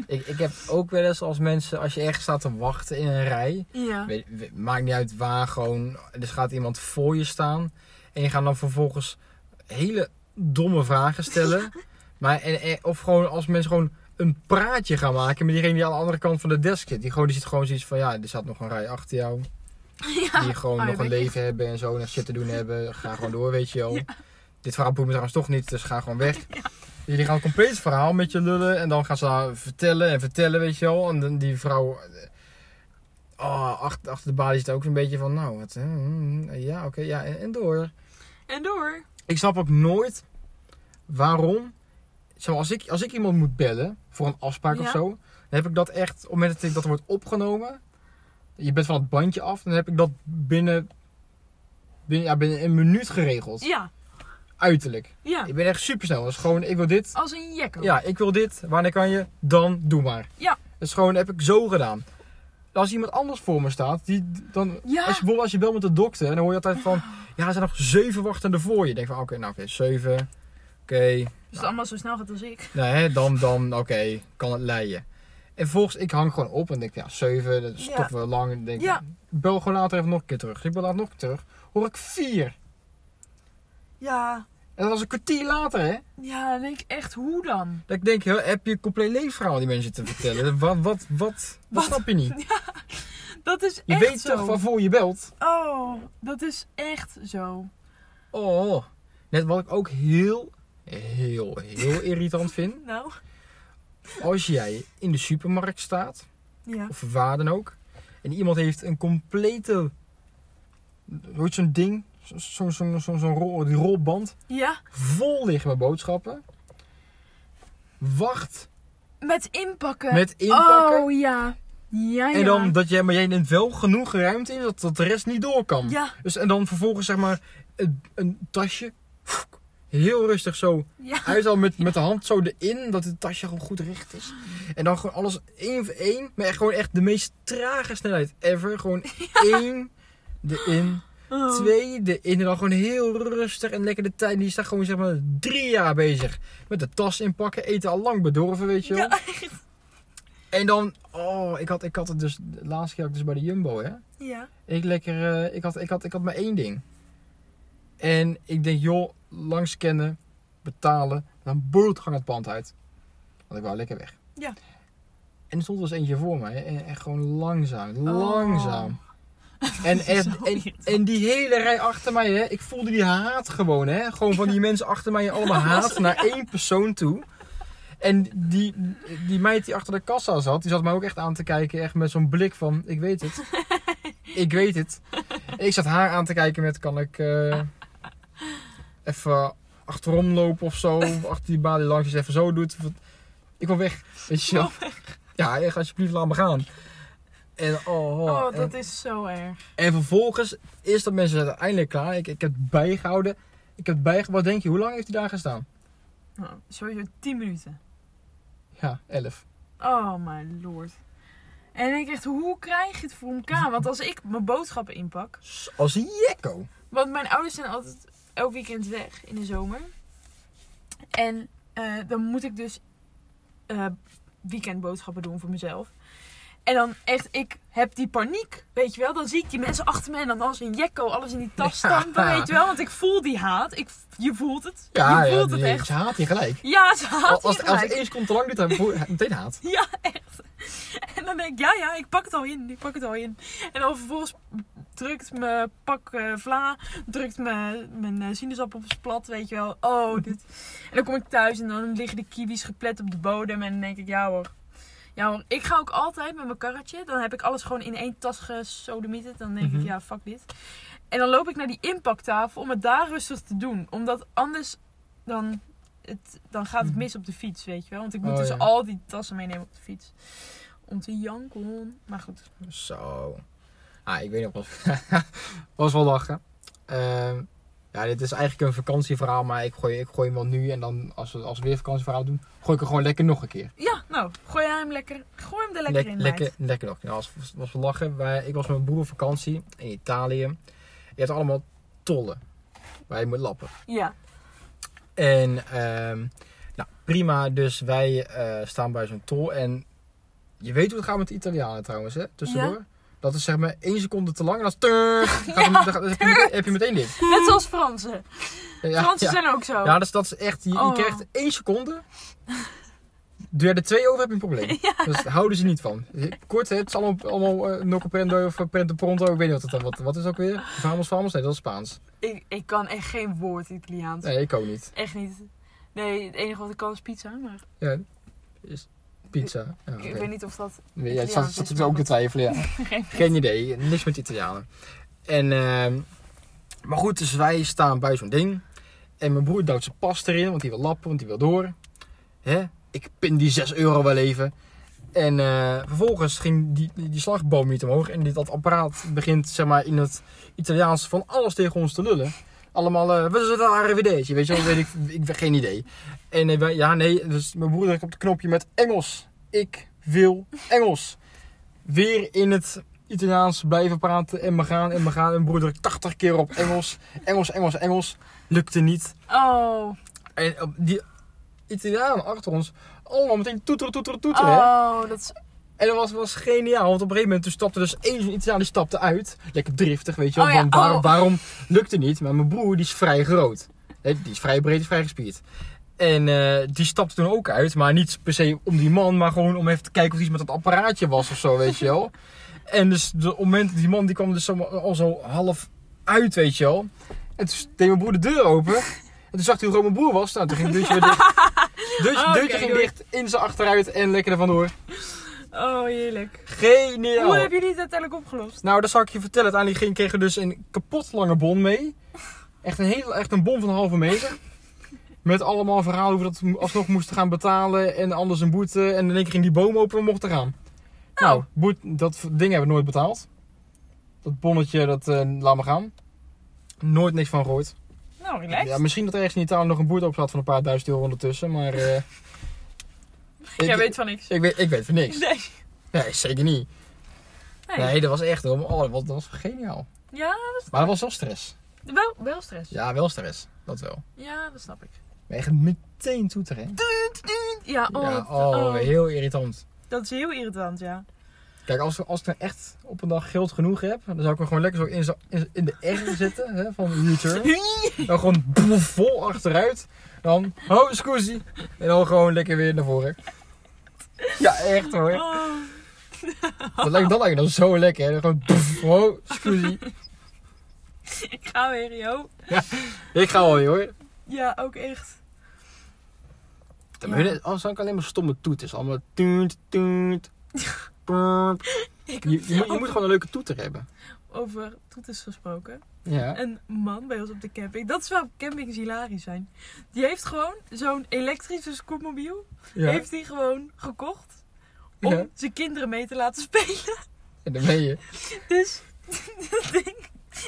Speaker 1: Ik, ik heb ook wel eens als mensen, als je ergens staat te wachten in een rij,
Speaker 2: Ja.
Speaker 1: weet, weet- maakt niet uit waar, gewoon, dus gaat iemand voor je staan en je gaat dan vervolgens hele domme vragen stellen. Maar, en, en- of gewoon als mensen gewoon een praatje gaan maken met diegene die aan de andere kant van de desk zit. Die, gewoon, die zit gewoon zoiets van, ja, er staat nog een rij achter jou.
Speaker 2: ja.
Speaker 1: Die gewoon
Speaker 2: Oh,
Speaker 1: nog
Speaker 2: ja,
Speaker 1: een
Speaker 2: weet je.
Speaker 1: leven hebben en zo, nog shit te doen hebben. Ga gewoon door, weet je wel. Dit verhaal boeit me trouwens toch niet, dus ga gewoon weg. Dus jullie gaan een compleet verhaal met je lullen en dan gaan ze daar vertellen en vertellen, weet je wel. En dan die vrouw... eh, Oh, achter, achter de balie zit ook een beetje van, nou, wat, eh, mm, ja, oké, ja, en- en door.
Speaker 2: En door.
Speaker 1: Ik snap ook nooit waarom. Zeg maar, als, ik, als ik iemand moet bellen voor een afspraak
Speaker 2: Ja.
Speaker 1: of zo, dan heb ik dat echt, op het moment dat ik dat wordt opgenomen, je bent van het bandje af, dan heb ik dat binnen, binnen, ja, binnen een minuut geregeld.
Speaker 2: Ja,
Speaker 1: Uiterlijk.
Speaker 2: ja.
Speaker 1: Ik ben echt super snel. Dat is gewoon, ik wil dit.
Speaker 2: Als een jekko.
Speaker 1: Ja, ik wil dit. Wanneer kan je? Dan doe maar.
Speaker 2: Ja.
Speaker 1: Dat is gewoon, heb ik zo gedaan. Als iemand anders voor me staat, die, dan
Speaker 2: Ja.
Speaker 1: als je, bijvoorbeeld als je belt met de dokter, dan hoor je altijd van... Ja, er zijn nog zeven wachtenden voor je. Dan denk je van, oké, nou oké, zeven. Oké,
Speaker 2: Als Dus het allemaal zo snel gaat als ik.
Speaker 1: nou hè, dan, dan, oké, kan het leiden. En vervolgens, ik hang gewoon op en denk ja, zeven, dat is
Speaker 2: Ja.
Speaker 1: toch wel lang. Dan denk ik,
Speaker 2: Ja.
Speaker 1: bel gewoon later even nog een keer terug. Dus ik bel later nog een keer terug, hoor ik vier.
Speaker 2: Ja.
Speaker 1: En dat was een kwartier later, hè.
Speaker 2: Ja, dan denk ik echt, hoe dan?
Speaker 1: Dat ik denk, hè, heb je een compleet leefverhaal aan die mensen te vertellen? Wat, wat, wat,
Speaker 2: Wat?
Speaker 1: wat snap je niet?
Speaker 2: Dat is
Speaker 1: Je
Speaker 2: echt
Speaker 1: weet
Speaker 2: zo.
Speaker 1: toch waarvoor je belt?
Speaker 2: Oh, dat is echt zo.
Speaker 1: Oh, net wat ik ook heel, heel, heel irritant vind.
Speaker 2: Nou,
Speaker 1: Als jij in de supermarkt staat,
Speaker 2: ja.
Speaker 1: of waar dan ook, en iemand heeft een complete. hoe heet zo'n ding? Zo'n zo, zo, zo, zo'n rol, die rolband
Speaker 2: Ja,
Speaker 1: vol liggen met boodschappen. Wacht
Speaker 2: met inpakken.
Speaker 1: met inpakken.
Speaker 2: Eh, Oh, ja. Ja, ja.
Speaker 1: en dan dat jij, maar jij neemt wel genoeg ruimte in dat, dat de rest niet door kan.
Speaker 2: Ja,
Speaker 1: Dus, en dan vervolgens zeg maar een, een tasje. Heel rustig zo
Speaker 2: ja.
Speaker 1: Hij is al met, met de hand zo erin, dat het tasje gewoon goed recht is. En dan gewoon alles één voor één. Maar echt gewoon echt de meest trage snelheid ever. Gewoon één erin,
Speaker 2: Oh.
Speaker 1: twee erin. En dan gewoon heel rustig en lekker de tijd. Die is daar gewoon zeg maar drie jaar bezig. Met de tas inpakken, eten al lang bedorven, weet je wel.
Speaker 2: Ja, echt.
Speaker 1: En dan, oh, ik had, ik had het dus, de laatste keer had ik dus bij de Jumbo, hè.
Speaker 2: Ja.
Speaker 1: Ik lekker, eh, ik, had, ik, had, ik had maar één ding. En ik denk, joh, langs scannen, betalen, dan boert gang het pand uit. Want ik wou lekker weg.
Speaker 2: Ja.
Speaker 1: En er stond dus eentje voor mij en echt gewoon langzaam,
Speaker 2: Oh.
Speaker 1: langzaam. En, echt,
Speaker 2: zo
Speaker 1: en,
Speaker 2: irritant.
Speaker 1: en die hele rij achter mij, hè, ik voelde die haat gewoon, hè. Gewoon van die mensen achter mij, allemaal haat naar één persoon toe. En die, die meid die achter de kassa zat, die zat mij ook echt aan te kijken, echt met zo'n blik van, ik weet het. Ik weet het. En ik zat haar aan te kijken met, kan ik eh, even achterom lopen of zo, achter die balie langs, als je even zo doet. Wat- Ik wil weg, weet je wel. Ja, echt, alsjeblieft, laat me gaan. En, oh, oh,
Speaker 2: Oh,
Speaker 1: en-
Speaker 2: dat is zo erg.
Speaker 1: en vervolgens is dat mensen uiteindelijk klaar. Ik, ik heb het bijgehouden. Ik heb het bijgehouden. Wat denk je, hoe lang heeft hij daar gestaan?
Speaker 2: Oh, sowieso 10 minuten.
Speaker 1: Ja, 11.
Speaker 2: Oh, mijn lord. En ik denk echt, hoe krijg je het voor elkaar? Want als ik mijn boodschappen inpak,
Speaker 1: Als een jekko.
Speaker 2: Want mijn ouders zijn altijd elk weekend weg in de zomer. En eh, dan moet ik dus eh, weekendboodschappen doen voor mezelf. En dan echt, ik heb die paniek, weet je wel. Dan zie ik die mensen achter me en dan als een jekko alles in die tas stampen, weet je wel. Want ik voel die haat. Ik, je voelt het.
Speaker 1: Ja,
Speaker 2: je
Speaker 1: ja
Speaker 2: voelt
Speaker 1: die,
Speaker 2: het echt.
Speaker 1: ze haat je gelijk.
Speaker 2: Ja, ze haat
Speaker 1: als,
Speaker 2: je
Speaker 1: het- als het
Speaker 2: gelijk.
Speaker 1: eens komt te lang duurt, dan voel je meteen haat.
Speaker 2: Ja, echt. En dan denk ik, ja, ja, ik pak het al in, ik pak het al in. En dan vervolgens drukt mijn pak eh, vla, drukt mijn, mijn eh, sinaasappels plat, weet je wel. Oh, dit. En dan kom ik thuis en dan liggen de kiwis geplet op de bodem. En dan denk ik, ja hoor. Ja hoor, ik ga ook altijd met mijn karretje. Dan heb ik alles gewoon in één tas gesodemieterd. Dan denk
Speaker 1: Mhm.
Speaker 2: ik, ja, fuck dit. En dan loop ik naar die inpaktafel om het daar rustig te doen. Omdat anders dan, het, dan gaat het mis op de fiets, weet je wel. Want ik moet
Speaker 1: Oh,
Speaker 2: dus
Speaker 1: ja.
Speaker 2: al die tassen meenemen op de fiets. Om te janken. Maar goed.
Speaker 1: Zo. Ah, ik weet nog wel. was wel lachen. Ehm, ja, dit is eigenlijk een vakantieverhaal, maar ik gooi, ik gooi hem wel nu. En dan, als we, als we weer vakantieverhaal doen, gooi ik er gewoon lekker nog een keer.
Speaker 2: Ja, nou, gooi jij hem lekker. Gooi hem er lekker
Speaker 1: Lek-
Speaker 2: in.
Speaker 1: lekker,
Speaker 2: meid.
Speaker 1: lekker nog. Nou, Ja, was, was, was wel lachen. Wij, ik was met mijn broer op vakantie in Italië. Je hebt allemaal tollen waar je moet lappen.
Speaker 2: Ja.
Speaker 1: En ehm, nou, prima. Dus wij eh, staan bij zo'n tol. En je weet hoe het gaat met de Italianen trouwens, hè? Tussendoor. Dat is zeg maar één seconde te lang en als turf, gaat hem- dan gaat- dan heb, je meteen- heb je meteen dit.
Speaker 2: Net zoals Fransen.
Speaker 1: Ja,
Speaker 2: Fransen
Speaker 1: ja.
Speaker 2: zijn ook zo.
Speaker 1: ja dus dat is echt, je, je
Speaker 2: Oh.
Speaker 1: krijgt één seconde. Doe jij er twee over, heb je een probleem. Dus houden ze niet van. Kort, hè, het is allemaal, allemaal eh, nokkenprendo of eh, prento pronto, ik weet niet wat het dan, wat, wat is het ook weer? Vamos, vamos? Nee, dat is Spaans.
Speaker 2: Ik, ik kan echt geen woord Italiaans.
Speaker 1: Nee, ik ook niet.
Speaker 2: Echt niet. Nee, het enige wat ik kan is pizza, maar
Speaker 1: Ja, is pizza. Ja,
Speaker 2: ik
Speaker 1: oké.
Speaker 2: weet niet of dat...
Speaker 1: Ja, het
Speaker 2: Italiaans
Speaker 1: zat, zat
Speaker 2: is,
Speaker 1: ik ook te
Speaker 2: maar
Speaker 1: twijfelen, ja.
Speaker 2: Geen
Speaker 1: Geen idee, niks met Italianen. En, ehm, maar goed, dus wij staan bij zo'n ding. En mijn broer duwt zijn pas erin, want die wil lappen, want die wil door. Hè? Ik pin die 6 euro wel even. En eh, vervolgens ging die, die, die slagboom niet omhoog. En dit, dat apparaat begint zeg maar, in het Italiaans van alles tegen ons te lullen. Allemaal, eh, wat is het arrivederci? Weet je wel, weet ik, ik heb geen idee. En eh, wij- ja, nee, dus mijn broer drukt op het knopje met Engels. Ik wil Engels. Weer in het Italiaans blijven praten en me gaan en me gaan. En mijn broer drukt 80 keer op Engels. Engels, Engels, Engels. Lukte niet.
Speaker 2: Oh,
Speaker 1: En op die Italianen achter ons, allemaal meteen toeteren, toeteren, toeteren. hè.
Speaker 2: oh, dat is...
Speaker 1: En dat was, was geniaal, want op een gegeven moment toen stapte dus één zo'n Italiaan die stapte uit. Lekker driftig, weet je wel.
Speaker 2: Oh ja,
Speaker 1: van waar-
Speaker 2: oh.
Speaker 1: Waarom lukte niet? Maar mijn broer die is vrij groot. Hè, Die is vrij breed, die is vrij gespierd. En eh, die stapte toen ook uit, maar niet per se om die man, maar gewoon om even te kijken of er iets met dat apparaatje was of zo, weet je wel. En dus de, op het moment, die man die kwam dus zomaar al zo half uit, weet je wel. En toen deed mijn broer de deur open. En toen zag hij hoe groot mijn broer was. Nou, toen ging het deurtje weer dicht. Deurtje,
Speaker 2: Oh, Oké,
Speaker 1: deurtje ging
Speaker 2: doei.
Speaker 1: dicht, in zijn achteruit en lekker er vandoor.
Speaker 2: Oh, heerlijk.
Speaker 1: Geniaal.
Speaker 2: Hoe hebben jullie het uiteindelijk opgelost?
Speaker 1: Nou, dat zal ik je vertellen. Uiteindelijk ging, kregen we dus een kapot lange bon mee. Echt een, heel, echt een bon van een halve meter. Met allemaal verhalen hoe we dat alsnog moesten gaan betalen. En anders een boete. En in één keer ging die boom open en we mochten gaan.
Speaker 2: Oh.
Speaker 1: Nou, boet, dat v- ding hebben we nooit betaald. Dat bonnetje, dat eh, laat maar gaan. Nooit niks van gehoord.
Speaker 2: Nou, relaxed.
Speaker 1: Ja, misschien dat er ergens in Italië nog een boete op zat van een paar duizend euro ondertussen. Maar eh,
Speaker 2: Jij
Speaker 1: ik,
Speaker 2: weet van niks.
Speaker 1: ik, weet, ik weet van niks.
Speaker 2: Nee.
Speaker 1: Nee, zeker niet.
Speaker 2: Nee.
Speaker 1: Nee, dat was echt... Oh, dat was geniaal.
Speaker 2: Ja,
Speaker 1: Maar dat was wel stress.
Speaker 2: wel, wel stress.
Speaker 1: Ja, wel stress. Dat wel.
Speaker 2: Ja, dat snap ik.
Speaker 1: Maar echt meteen toeteren. hè?
Speaker 2: Ja, oh,
Speaker 1: ja,
Speaker 2: dat-
Speaker 1: oh,
Speaker 2: oh,
Speaker 1: heel irritant.
Speaker 2: dat is heel irritant, ja.
Speaker 1: Kijk, als, als ik nou echt op een dag geld genoeg heb, dan zou ik hem gewoon lekker zo in, zo- in- in de R zitten hè, van U-turn. Dan gewoon boef, vol achteruit. Dan, oh, scusi. En dan gewoon lekker weer naar voren. Ja, echt hoor.
Speaker 2: Oh.
Speaker 1: Dat lijkt, dat lijkt me dan zo lekker. Hè. Dan gewoon, boef, oh, scusi.
Speaker 2: Ik ga weer, joh.
Speaker 1: Ik ga alweer hoor.
Speaker 2: Ja, ook echt.
Speaker 1: Dan ben je- Anders zou ik alleen maar stomme toeters. Allemaal tuut, tuut. Purp.
Speaker 2: Ik
Speaker 1: Je, je, moet- je moet gewoon een leuke toeter hebben.
Speaker 2: Over toeters gesproken.
Speaker 1: Ja.
Speaker 2: Een man bij ons op de camping. Dat is wel campings hilarisch zijn. Die heeft gewoon zo'n elektrische scootmobiel.
Speaker 1: Ja,
Speaker 2: Heeft hij gewoon gekocht. Om
Speaker 1: Ja.
Speaker 2: zijn kinderen mee te laten spelen.
Speaker 1: en dan ben je.
Speaker 2: Dus dat ding.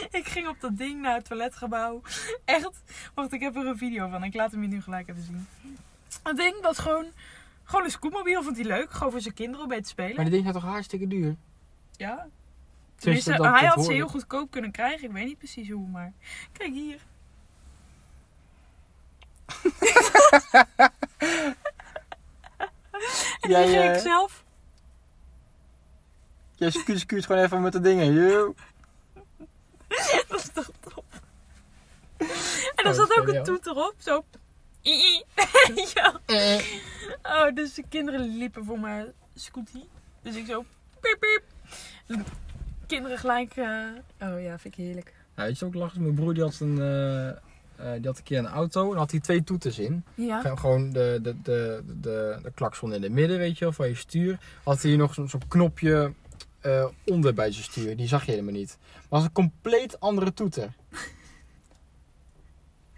Speaker 2: Ik ging op dat ding naar het toiletgebouw. Echt. Wacht, ik heb er een video van. Ik laat hem je nu gelijk even zien. Dat ding was gewoon. Gewoon een scootmobiel. Vond hij leuk. Gewoon voor zijn kinderen om mee te spelen.
Speaker 1: Maar die dingen zijn toch hartstikke duur?
Speaker 2: Ja.
Speaker 1: Tenminste,
Speaker 2: Tenminste,
Speaker 1: dat-
Speaker 2: hij
Speaker 1: dat
Speaker 2: had ze
Speaker 1: hoor ik.
Speaker 2: heel goedkoop kunnen krijgen. Ik weet niet precies hoe, maar... Kijk hier. En
Speaker 1: Jij,
Speaker 2: die ging
Speaker 1: eh,
Speaker 2: ik zelf...
Speaker 1: Jij scuut, scuut gewoon even met de dingen. Yo.
Speaker 2: Dat is toch top. En er
Speaker 1: Oh,
Speaker 2: zat ook
Speaker 1: geniaal.
Speaker 2: een toeter op, zo... Ii. ja.
Speaker 1: Eh.
Speaker 2: Oh, dus de kinderen liepen voor mijn scooty. Dus ik zo... Piep, piep. Kinderen gelijk... eh, Oh ja, vind ik heerlijk.
Speaker 1: Ja, weet je ook lachen? Mijn broer die had, een, eh, eh, die had een keer een auto en daar had hij twee toeters in.
Speaker 2: Ja.
Speaker 1: Ge- Gewoon de, de, de, de, de klakson in het midden, weet je wel, van je stuur. Had hij nog zo'n zo'n knopje eh, onder bij zijn stuur. Die zag je helemaal niet. Maar was een compleet andere toeter.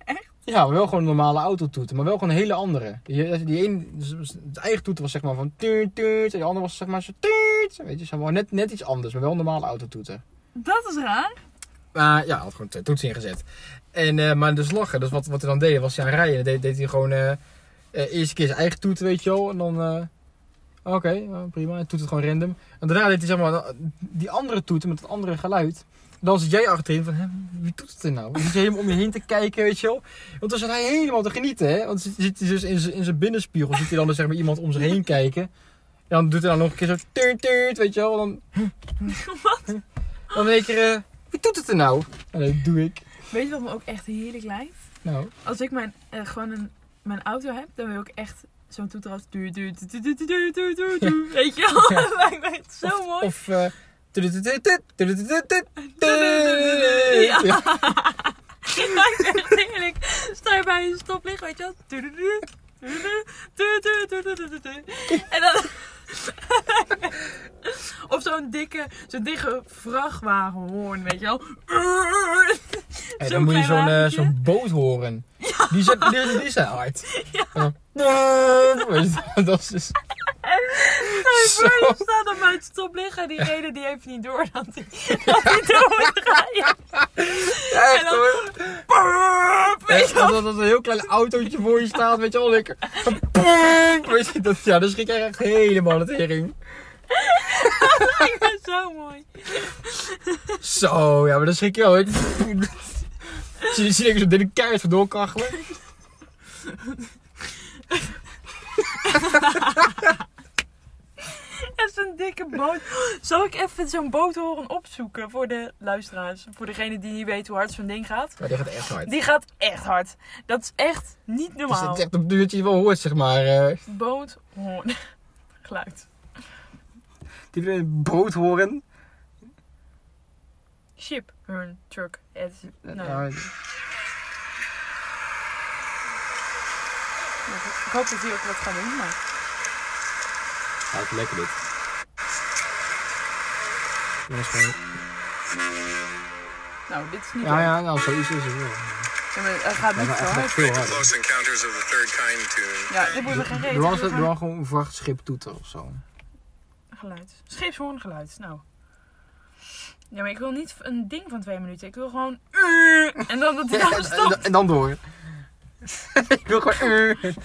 Speaker 2: Echt?
Speaker 1: Ja, maar wel gewoon een normale autotoeter, maar wel gewoon een hele andere. Die, die een, de eigen toeter was zeg maar van tuut tuut, en de andere was zeg maar zo tuut. Weet je, zeg maar net, net iets anders, maar wel een normale autotoeter.
Speaker 2: Dat is raar.
Speaker 1: Maar Ah, ja, hij had gewoon twee toetsen ingezet. En, eh, maar dus lachen, dus wat, wat hij dan deed, was hij aan rijden. Dan deed, deed hij gewoon eh eh, eerste keer zijn eigen toeter, weet je wel. En dan, eh, oké, nou, prima. Hij toet het gewoon random. En daarna deed hij zeg maar die andere toeter met het andere geluid. En dan zit jij achterin van, hè, wie doet het er nou? Dan zit je helemaal om je heen te kijken, weet je wel. Want dan zit hij helemaal te genieten, hè. Want dan zit, zit hij dus in zijn- in zijn binnenspiegel, zit hij dan dus, zeg maar iemand om zich heen kijken. En dan doet hij dan nog een keer zo tuurt, tuurt, weet je wel. Dan,
Speaker 2: Wat?
Speaker 1: dan in één keer, eh, wie doet het er nou? En dat doe ik.
Speaker 2: Weet je wat me ook echt heerlijk lijkt?
Speaker 1: Nou,
Speaker 2: Als ik mijn, eh, gewoon een, mijn auto heb, dan wil ik echt zo'n toeter als... duur, duur, duur, duur, duur, duur, duur, duur, duur. Weet je wel? Dat lijkt me echt zo mooi.
Speaker 1: of... eh, tududududu, tududududu,
Speaker 2: Ja.
Speaker 1: Ja.
Speaker 2: Dat lijkt me echt heerlijk. Sta je bij een stoplicht, weet je wel? Duur, duur, duur, duur, duur, duur, duur, duur, duur, duur. En dan... Of zo'n dikke, zo'n dikke vrachtwagenhoorn, weet je wel?
Speaker 1: Hey,
Speaker 2: Zo'n
Speaker 1: dan moet je
Speaker 2: klein
Speaker 1: zo'n eh,
Speaker 2: wagentje.
Speaker 1: zo'n boot horen. Die, zijn, die, die zijn hard.
Speaker 2: Ja.
Speaker 1: En dan- Weet je, dat is dus...
Speaker 2: Voor je staat op mijn stop liggen. Die reden die heeft niet door dat hij dat hij door moet draaien.
Speaker 1: Echt
Speaker 2: En dan-
Speaker 1: hoor.
Speaker 2: Purp, weet
Speaker 1: Echt,
Speaker 2: je wel.
Speaker 1: dat dat een heel klein autootje voor je staat, weet je wel, lekker. Boom, Weet je, dat, ja, dat schrik je echt helemaal het hering.
Speaker 2: Ik ben zo mooi.
Speaker 1: Zo, ja, maar dat schrik je wel. hè. Zie je zie je zo'n dikke keihard vandoor kachelen?
Speaker 2: En zo'n dikke boot. Zal ik even zo'n boothoorn opzoeken voor de luisteraars? Voor degene die niet weet hoe hard zo'n ding gaat.
Speaker 1: Maar die gaat echt hard.
Speaker 2: Die gaat echt hard. Dat is echt niet
Speaker 1: Dus
Speaker 2: normaal.
Speaker 1: het is echt op het duurtje wel hoort, zeg maar. eh
Speaker 2: Boothoorn. Geluid.
Speaker 1: die een boot horen.
Speaker 2: Ship, hun, truck, het. Nou,
Speaker 1: Nou,
Speaker 2: ik hoop dat hij ook wat gaat doen, maar...
Speaker 1: Ja, het is lekker dit. Ja, is gewoon-
Speaker 2: Nou, dit is niet
Speaker 1: Ja, ja, nou, zoiets is het wel.
Speaker 2: Ja, maar Hij gaat
Speaker 1: Hij
Speaker 2: niet
Speaker 1: gaat
Speaker 2: zo
Speaker 1: echt nog
Speaker 2: hard.
Speaker 1: veel harder.
Speaker 3: Close Encounters of the Third Kind tune.
Speaker 2: Ja, dit worden geen
Speaker 1: Er
Speaker 2: reden.
Speaker 1: was,
Speaker 2: dit
Speaker 1: er
Speaker 2: wordt
Speaker 1: was gewoon een vrachtschip toeter of zo.
Speaker 2: Geluid. Scheepshoorngeluid. Nou. Ja, maar ik wil niet een ding van twee minuten. Ik wil gewoon... En dan dat hij
Speaker 1: Ja,
Speaker 2: dan
Speaker 1: en, en,
Speaker 2: stopt.
Speaker 1: en dan door. ik wil gewoon. eh.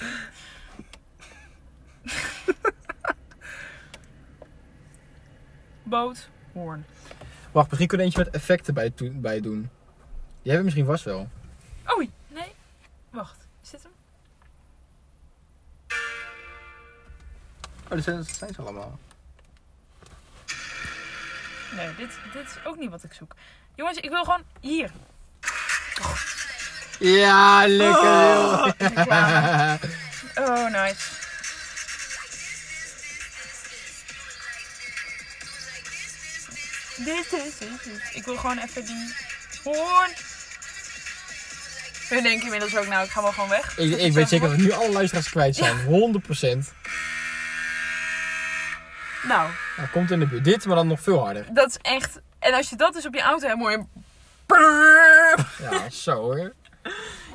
Speaker 2: Boot. Hoorn.
Speaker 1: Wacht, misschien kunnen we eentje met effecten bij, toe- bij doen. Die hebben we misschien vast wel.
Speaker 2: Oei. Nee. Wacht. Is dit hem?
Speaker 1: Oh, dat zijn, dat zijn ze allemaal.
Speaker 2: Nee, dit, dit is ook niet wat ik zoek. Jongens, ik wil gewoon... Hier.
Speaker 1: Ja, lekker joh.
Speaker 2: Ja. Oh, nice. Dit is het. Ik wil gewoon even die hoorn. Nu denk ik inmiddels ook, nou, ik ga wel gewoon weg.
Speaker 1: Ik, ik weet zeker dat we nu alle luisteraars kwijt zijn. 100%.
Speaker 2: Nou,
Speaker 1: Nou, komt in de buurt. Dit, maar dan nog veel harder.
Speaker 2: dat is echt... En als je dat dus op je auto hebt, moet je... Brrrr.
Speaker 1: Ja, zo hoor.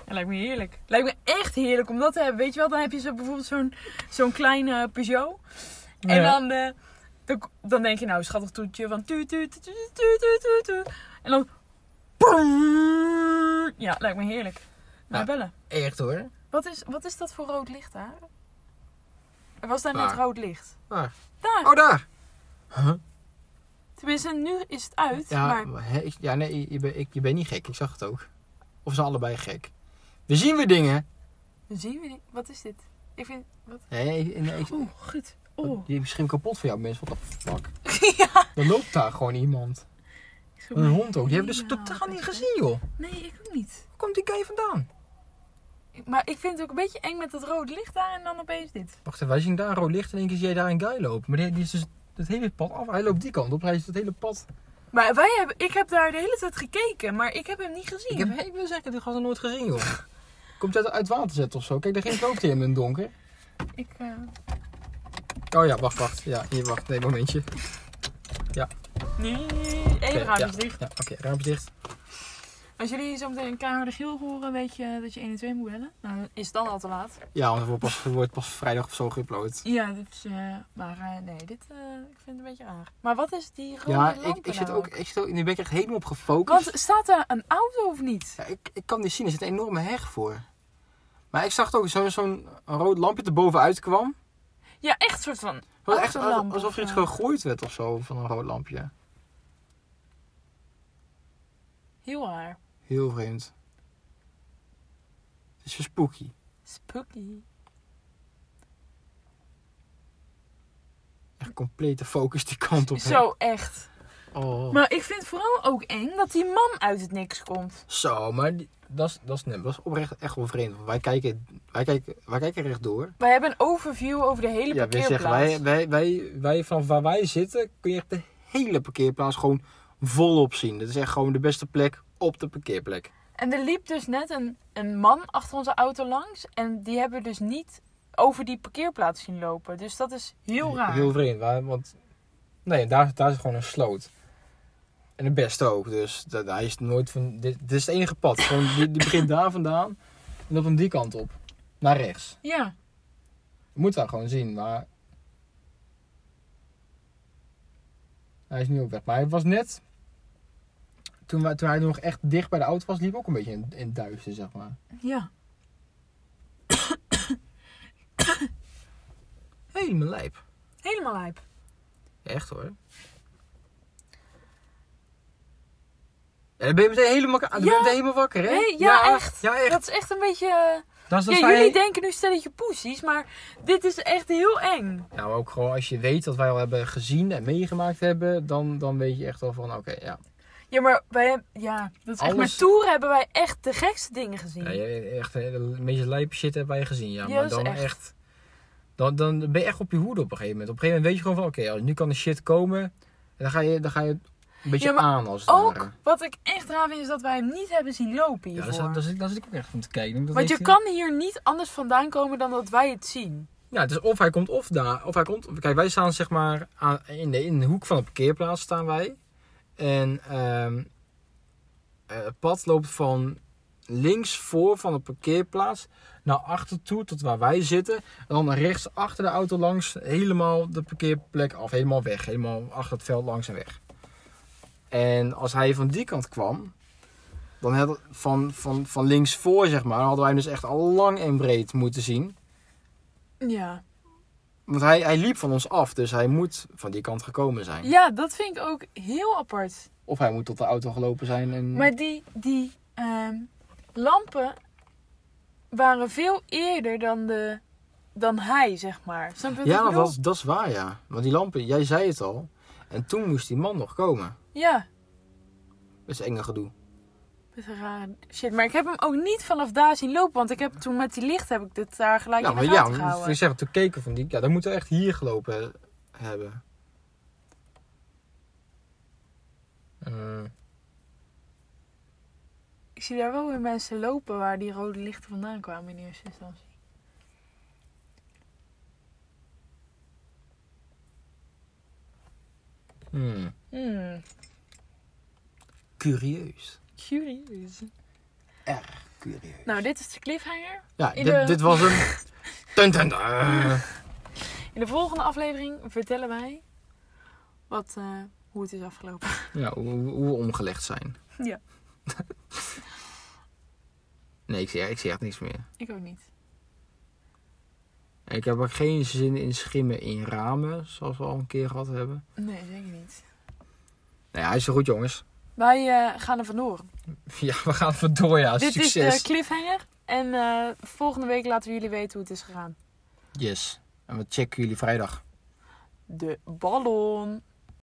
Speaker 2: Ja, lijkt me heerlijk. Lijkt me echt heerlijk om dat te hebben. Weet je wel, dan heb je zo bijvoorbeeld zo'n zo'n kleine Peugeot. En
Speaker 1: Ja.
Speaker 2: dan, eh, dan, dan denk je, nou, schattig toetje van tu tu tu tu tu tu tu tu. En dan... Ja, lijkt me heerlijk. Maar
Speaker 1: Ja.
Speaker 2: bellen.
Speaker 1: Echt hoor.
Speaker 2: Wat is, wat is dat voor rood licht daar? Er was daar net
Speaker 1: Waar?
Speaker 2: rood licht.
Speaker 1: Waar?
Speaker 2: Daar.
Speaker 1: Oh, daar. Huh?
Speaker 2: Tenminste, nu is het uit.
Speaker 1: Ja,
Speaker 2: Maar
Speaker 1: hè, ik- ja nee, je- je, bent- ik, je bent niet gek. Ik zag het ook. Of ze allebei gek. We zien weer dingen.
Speaker 2: dan zien we niet. Wat is dit? Ik vind... Wat?
Speaker 1: Nee, ik- nee, ik- Oh,
Speaker 2: Oeh, goed. Oh, Oeh.
Speaker 1: Die is misschien kapot van jou, mensen. Wat de fuck?
Speaker 2: ja.
Speaker 1: Dan loopt daar gewoon iemand.
Speaker 2: Ik zoek
Speaker 1: Een
Speaker 2: mijn
Speaker 1: hond ook. Die hebben dus
Speaker 2: knieën
Speaker 1: totaal
Speaker 2: al,
Speaker 1: niet
Speaker 2: weet je.
Speaker 1: gezien, joh.
Speaker 2: Nee, ik ook niet.
Speaker 1: Waar komt die guy vandaan?
Speaker 2: Maar ik vind het ook een beetje eng met dat rode licht daar en dan opeens dit.
Speaker 1: Wacht even, wij zien daar rood licht en één keer zie jij daar een guy lopen. Maar die, die is dus het hele pad af. Hij loopt die kant op. Hij is het hele pad.
Speaker 2: Maar wij hebben, ik heb daar de hele tijd gekeken, maar ik heb hem niet gezien.
Speaker 1: Ik heb ik wil zeggen, die gast nooit gezien, joh. Komt uit, uit water zetten of zo. Kijk, daar ging loopt hij in het donker.
Speaker 2: Ik, eh,
Speaker 1: Oh ja, wacht, wacht. Ja, hier, wacht. Nee, momentje. Oké,
Speaker 2: nee, één raam
Speaker 1: ja,
Speaker 2: is dicht.
Speaker 1: Ja, Oké, raam is dicht.
Speaker 2: Als jullie zo meteen een keiharde geel horen, weet je dat je 1 en 2 moet bellen. Nou, dan is het dan al te laat.
Speaker 1: Ja, want het wordt pas, het wordt pas vrijdag of zo geüpload.
Speaker 2: Ja, dus, eh, maar eh, nee, dit eh, ik vind het een beetje raar. Maar wat is die rode
Speaker 1: Ja,
Speaker 2: lamp
Speaker 1: ik, ik
Speaker 2: nou
Speaker 1: zit ook... Ik zit ook nu ben ik echt helemaal op gefocust.
Speaker 2: Want staat daar een auto of niet?
Speaker 1: Ja, ik, ik kan niet zien, er zit een enorme heg voor. Maar ik zag ook zo'n zo'n rood lampje er bovenuit kwam.
Speaker 2: Ja, echt soort van
Speaker 1: Het was echt
Speaker 2: Autolamp
Speaker 1: alsof
Speaker 2: of,
Speaker 1: er iets
Speaker 2: eh,
Speaker 1: gegooid werd of zo van een rood lampje.
Speaker 2: heel raar.
Speaker 1: Heel vreemd. Het is zo spooky.
Speaker 2: Spooky.
Speaker 1: complete focus die kant op hebt.
Speaker 2: Zo, echt.
Speaker 1: Oh.
Speaker 2: Maar ik vind vooral ook eng dat die man uit het niks komt.
Speaker 1: Zo, maar die- dat is, dat is, nee, dat is oprecht echt wel vreemd. want Wij kijken, wij kijken, wij kijken rechtdoor.
Speaker 2: Wij hebben een overview over de
Speaker 1: Ja,
Speaker 2: hele
Speaker 1: wij
Speaker 2: parkeerplaats.
Speaker 1: zeggen, wij, wij, wij, wij, vanaf waar wij zitten kun je echt de hele parkeerplaats gewoon volop zien. Dat is echt gewoon de beste plek op de parkeerplek.
Speaker 2: En er liep dus net een, een man achter onze auto langs. En die hebben we dus niet over die parkeerplaats zien lopen. Dus dat is heel raar.
Speaker 1: Heel vreemd, waar- want nee, daar, daar is gewoon een sloot. En de beste ook, dus dat, hij is nooit van, dit, dit is het enige pad. Gewoon, die, die begint daar vandaan en loopt hem die kant op, naar rechts.
Speaker 2: Ja,
Speaker 1: Je moet daar gewoon zien, maar... Hij is nu op weg, maar hij was net... Toen, wij, toen hij nog echt dicht bij de auto was, liep hij ook een beetje in, in het duister, zeg maar.
Speaker 2: ja.
Speaker 1: Helemaal lijp.
Speaker 2: Helemaal lijp.
Speaker 1: Echt hoor. En dan ben je meteen helemaal, dan ben je
Speaker 2: Ja.
Speaker 1: meteen helemaal wakker, hè?
Speaker 2: Nee, ja, echt.
Speaker 1: Ja, echt.
Speaker 2: Dat is echt een beetje... eh,
Speaker 1: Dat is dat
Speaker 2: ja,
Speaker 1: wij-
Speaker 2: jullie denken nu stelletje poesies, maar dit is echt heel eng.
Speaker 1: Nou, maar ook gewoon als je weet wat wij al hebben gezien en meegemaakt hebben, dan, dan weet je echt wel van, oké, ja.
Speaker 2: Ja, maar wij hebben... Ja, dat is echt...
Speaker 1: Alles-
Speaker 2: Met toeren hebben wij echt de gekste dingen gezien.
Speaker 1: ja je- echt hè, de meeste lijpe shit hebben wij gezien, ja.
Speaker 2: Ja,
Speaker 1: maar
Speaker 2: dat is
Speaker 1: dan
Speaker 2: echt.
Speaker 1: echt... dan, dan ben je echt op je hoede op een gegeven moment. Op een gegeven moment weet je gewoon van, oké, als- nu kan de shit komen. En dan ga je, dan ga je een beetje
Speaker 2: Ja, maar
Speaker 1: aan als het
Speaker 2: Ook
Speaker 1: ware.
Speaker 2: wat ik echt raar vind is dat wij hem niet hebben zien lopen
Speaker 1: Ja,
Speaker 2: hiervoor.
Speaker 1: daar zat, daar, zit, daar zit ik ook echt van te kijken. Ik denk, dat
Speaker 2: Want je
Speaker 1: heeft hij-
Speaker 2: kan hier niet anders vandaan komen dan dat wij het zien.
Speaker 1: Ja, het is of hij komt of daar. Of hij komt. Kijk, wij staan zeg maar aan, in, de, in de hoek van de parkeerplaats staan wij. En ehm, eh, het pad loopt van links voor van de parkeerplaats naar achter toe tot waar wij zitten. En dan naar rechts achter de auto langs helemaal de parkeerplek af. Helemaal weg. Helemaal achter het veld langs en weg. En als hij van die kant kwam, dan had, van, van, van links voor zeg maar, hadden wij hem dus echt al lang en breed moeten zien.
Speaker 2: Ja.
Speaker 1: Want hij, hij liep van ons af, dus hij moet van die kant gekomen zijn.
Speaker 2: Ja, dat vind ik ook heel apart.
Speaker 1: Of hij moet tot de auto gelopen zijn. En...
Speaker 2: Maar die, die ehm, lampen waren veel eerder dan, de, dan hij, zeg maar. Snap je wat ik
Speaker 1: ja,
Speaker 2: bedoel?
Speaker 1: dat, is- dat is waar, ja. Want die lampen, jij zei het al. En toen moest die man nog komen.
Speaker 2: Ja,
Speaker 1: Dat is enge gedoe.
Speaker 2: dat is raar. Shit, maar ik heb hem ook niet vanaf daar zien lopen. Want ik heb toen met die licht heb ik dit daar gelijk in de
Speaker 1: ja,
Speaker 2: gaten
Speaker 1: want ik
Speaker 2: gehouden.
Speaker 1: zeg, toen keken we van die. Ja, dan moeten we echt hier gelopen hebben. Eh,
Speaker 2: Ik zie daar wel weer mensen lopen waar die rode lichten vandaan kwamen in eerste instantie.
Speaker 1: hmm,
Speaker 2: Hmm,
Speaker 1: curieus.
Speaker 2: curieus.
Speaker 1: Curieus.
Speaker 2: Nou, dit is de cliffhanger.
Speaker 1: ja,
Speaker 2: in
Speaker 1: dit,
Speaker 2: de-
Speaker 1: dit was hem. Dun, dun, dun.
Speaker 2: In de volgende aflevering vertellen wij wat, eh, hoe het is afgelopen.
Speaker 1: Ja, hoe, hoe we omgelegd zijn.
Speaker 2: Ja.
Speaker 1: nee, ik zie, ik zie echt niks meer.
Speaker 2: Ik ook niet.
Speaker 1: Ik heb ook geen zin in schimmen in ramen, zoals we al een keer gehad hebben.
Speaker 2: Nee, zeker niet.
Speaker 1: Nou ja, hij is er goed, jongens.
Speaker 2: Wij eh, gaan er vandoor.
Speaker 1: Ja, we gaan vandoor, ja.
Speaker 2: Dit is eh,
Speaker 1: Succes.
Speaker 2: de cliffhanger. En eh, volgende week laten we jullie weten hoe het is gegaan.
Speaker 1: Yes. En we checken jullie vrijdag.
Speaker 2: De ballon.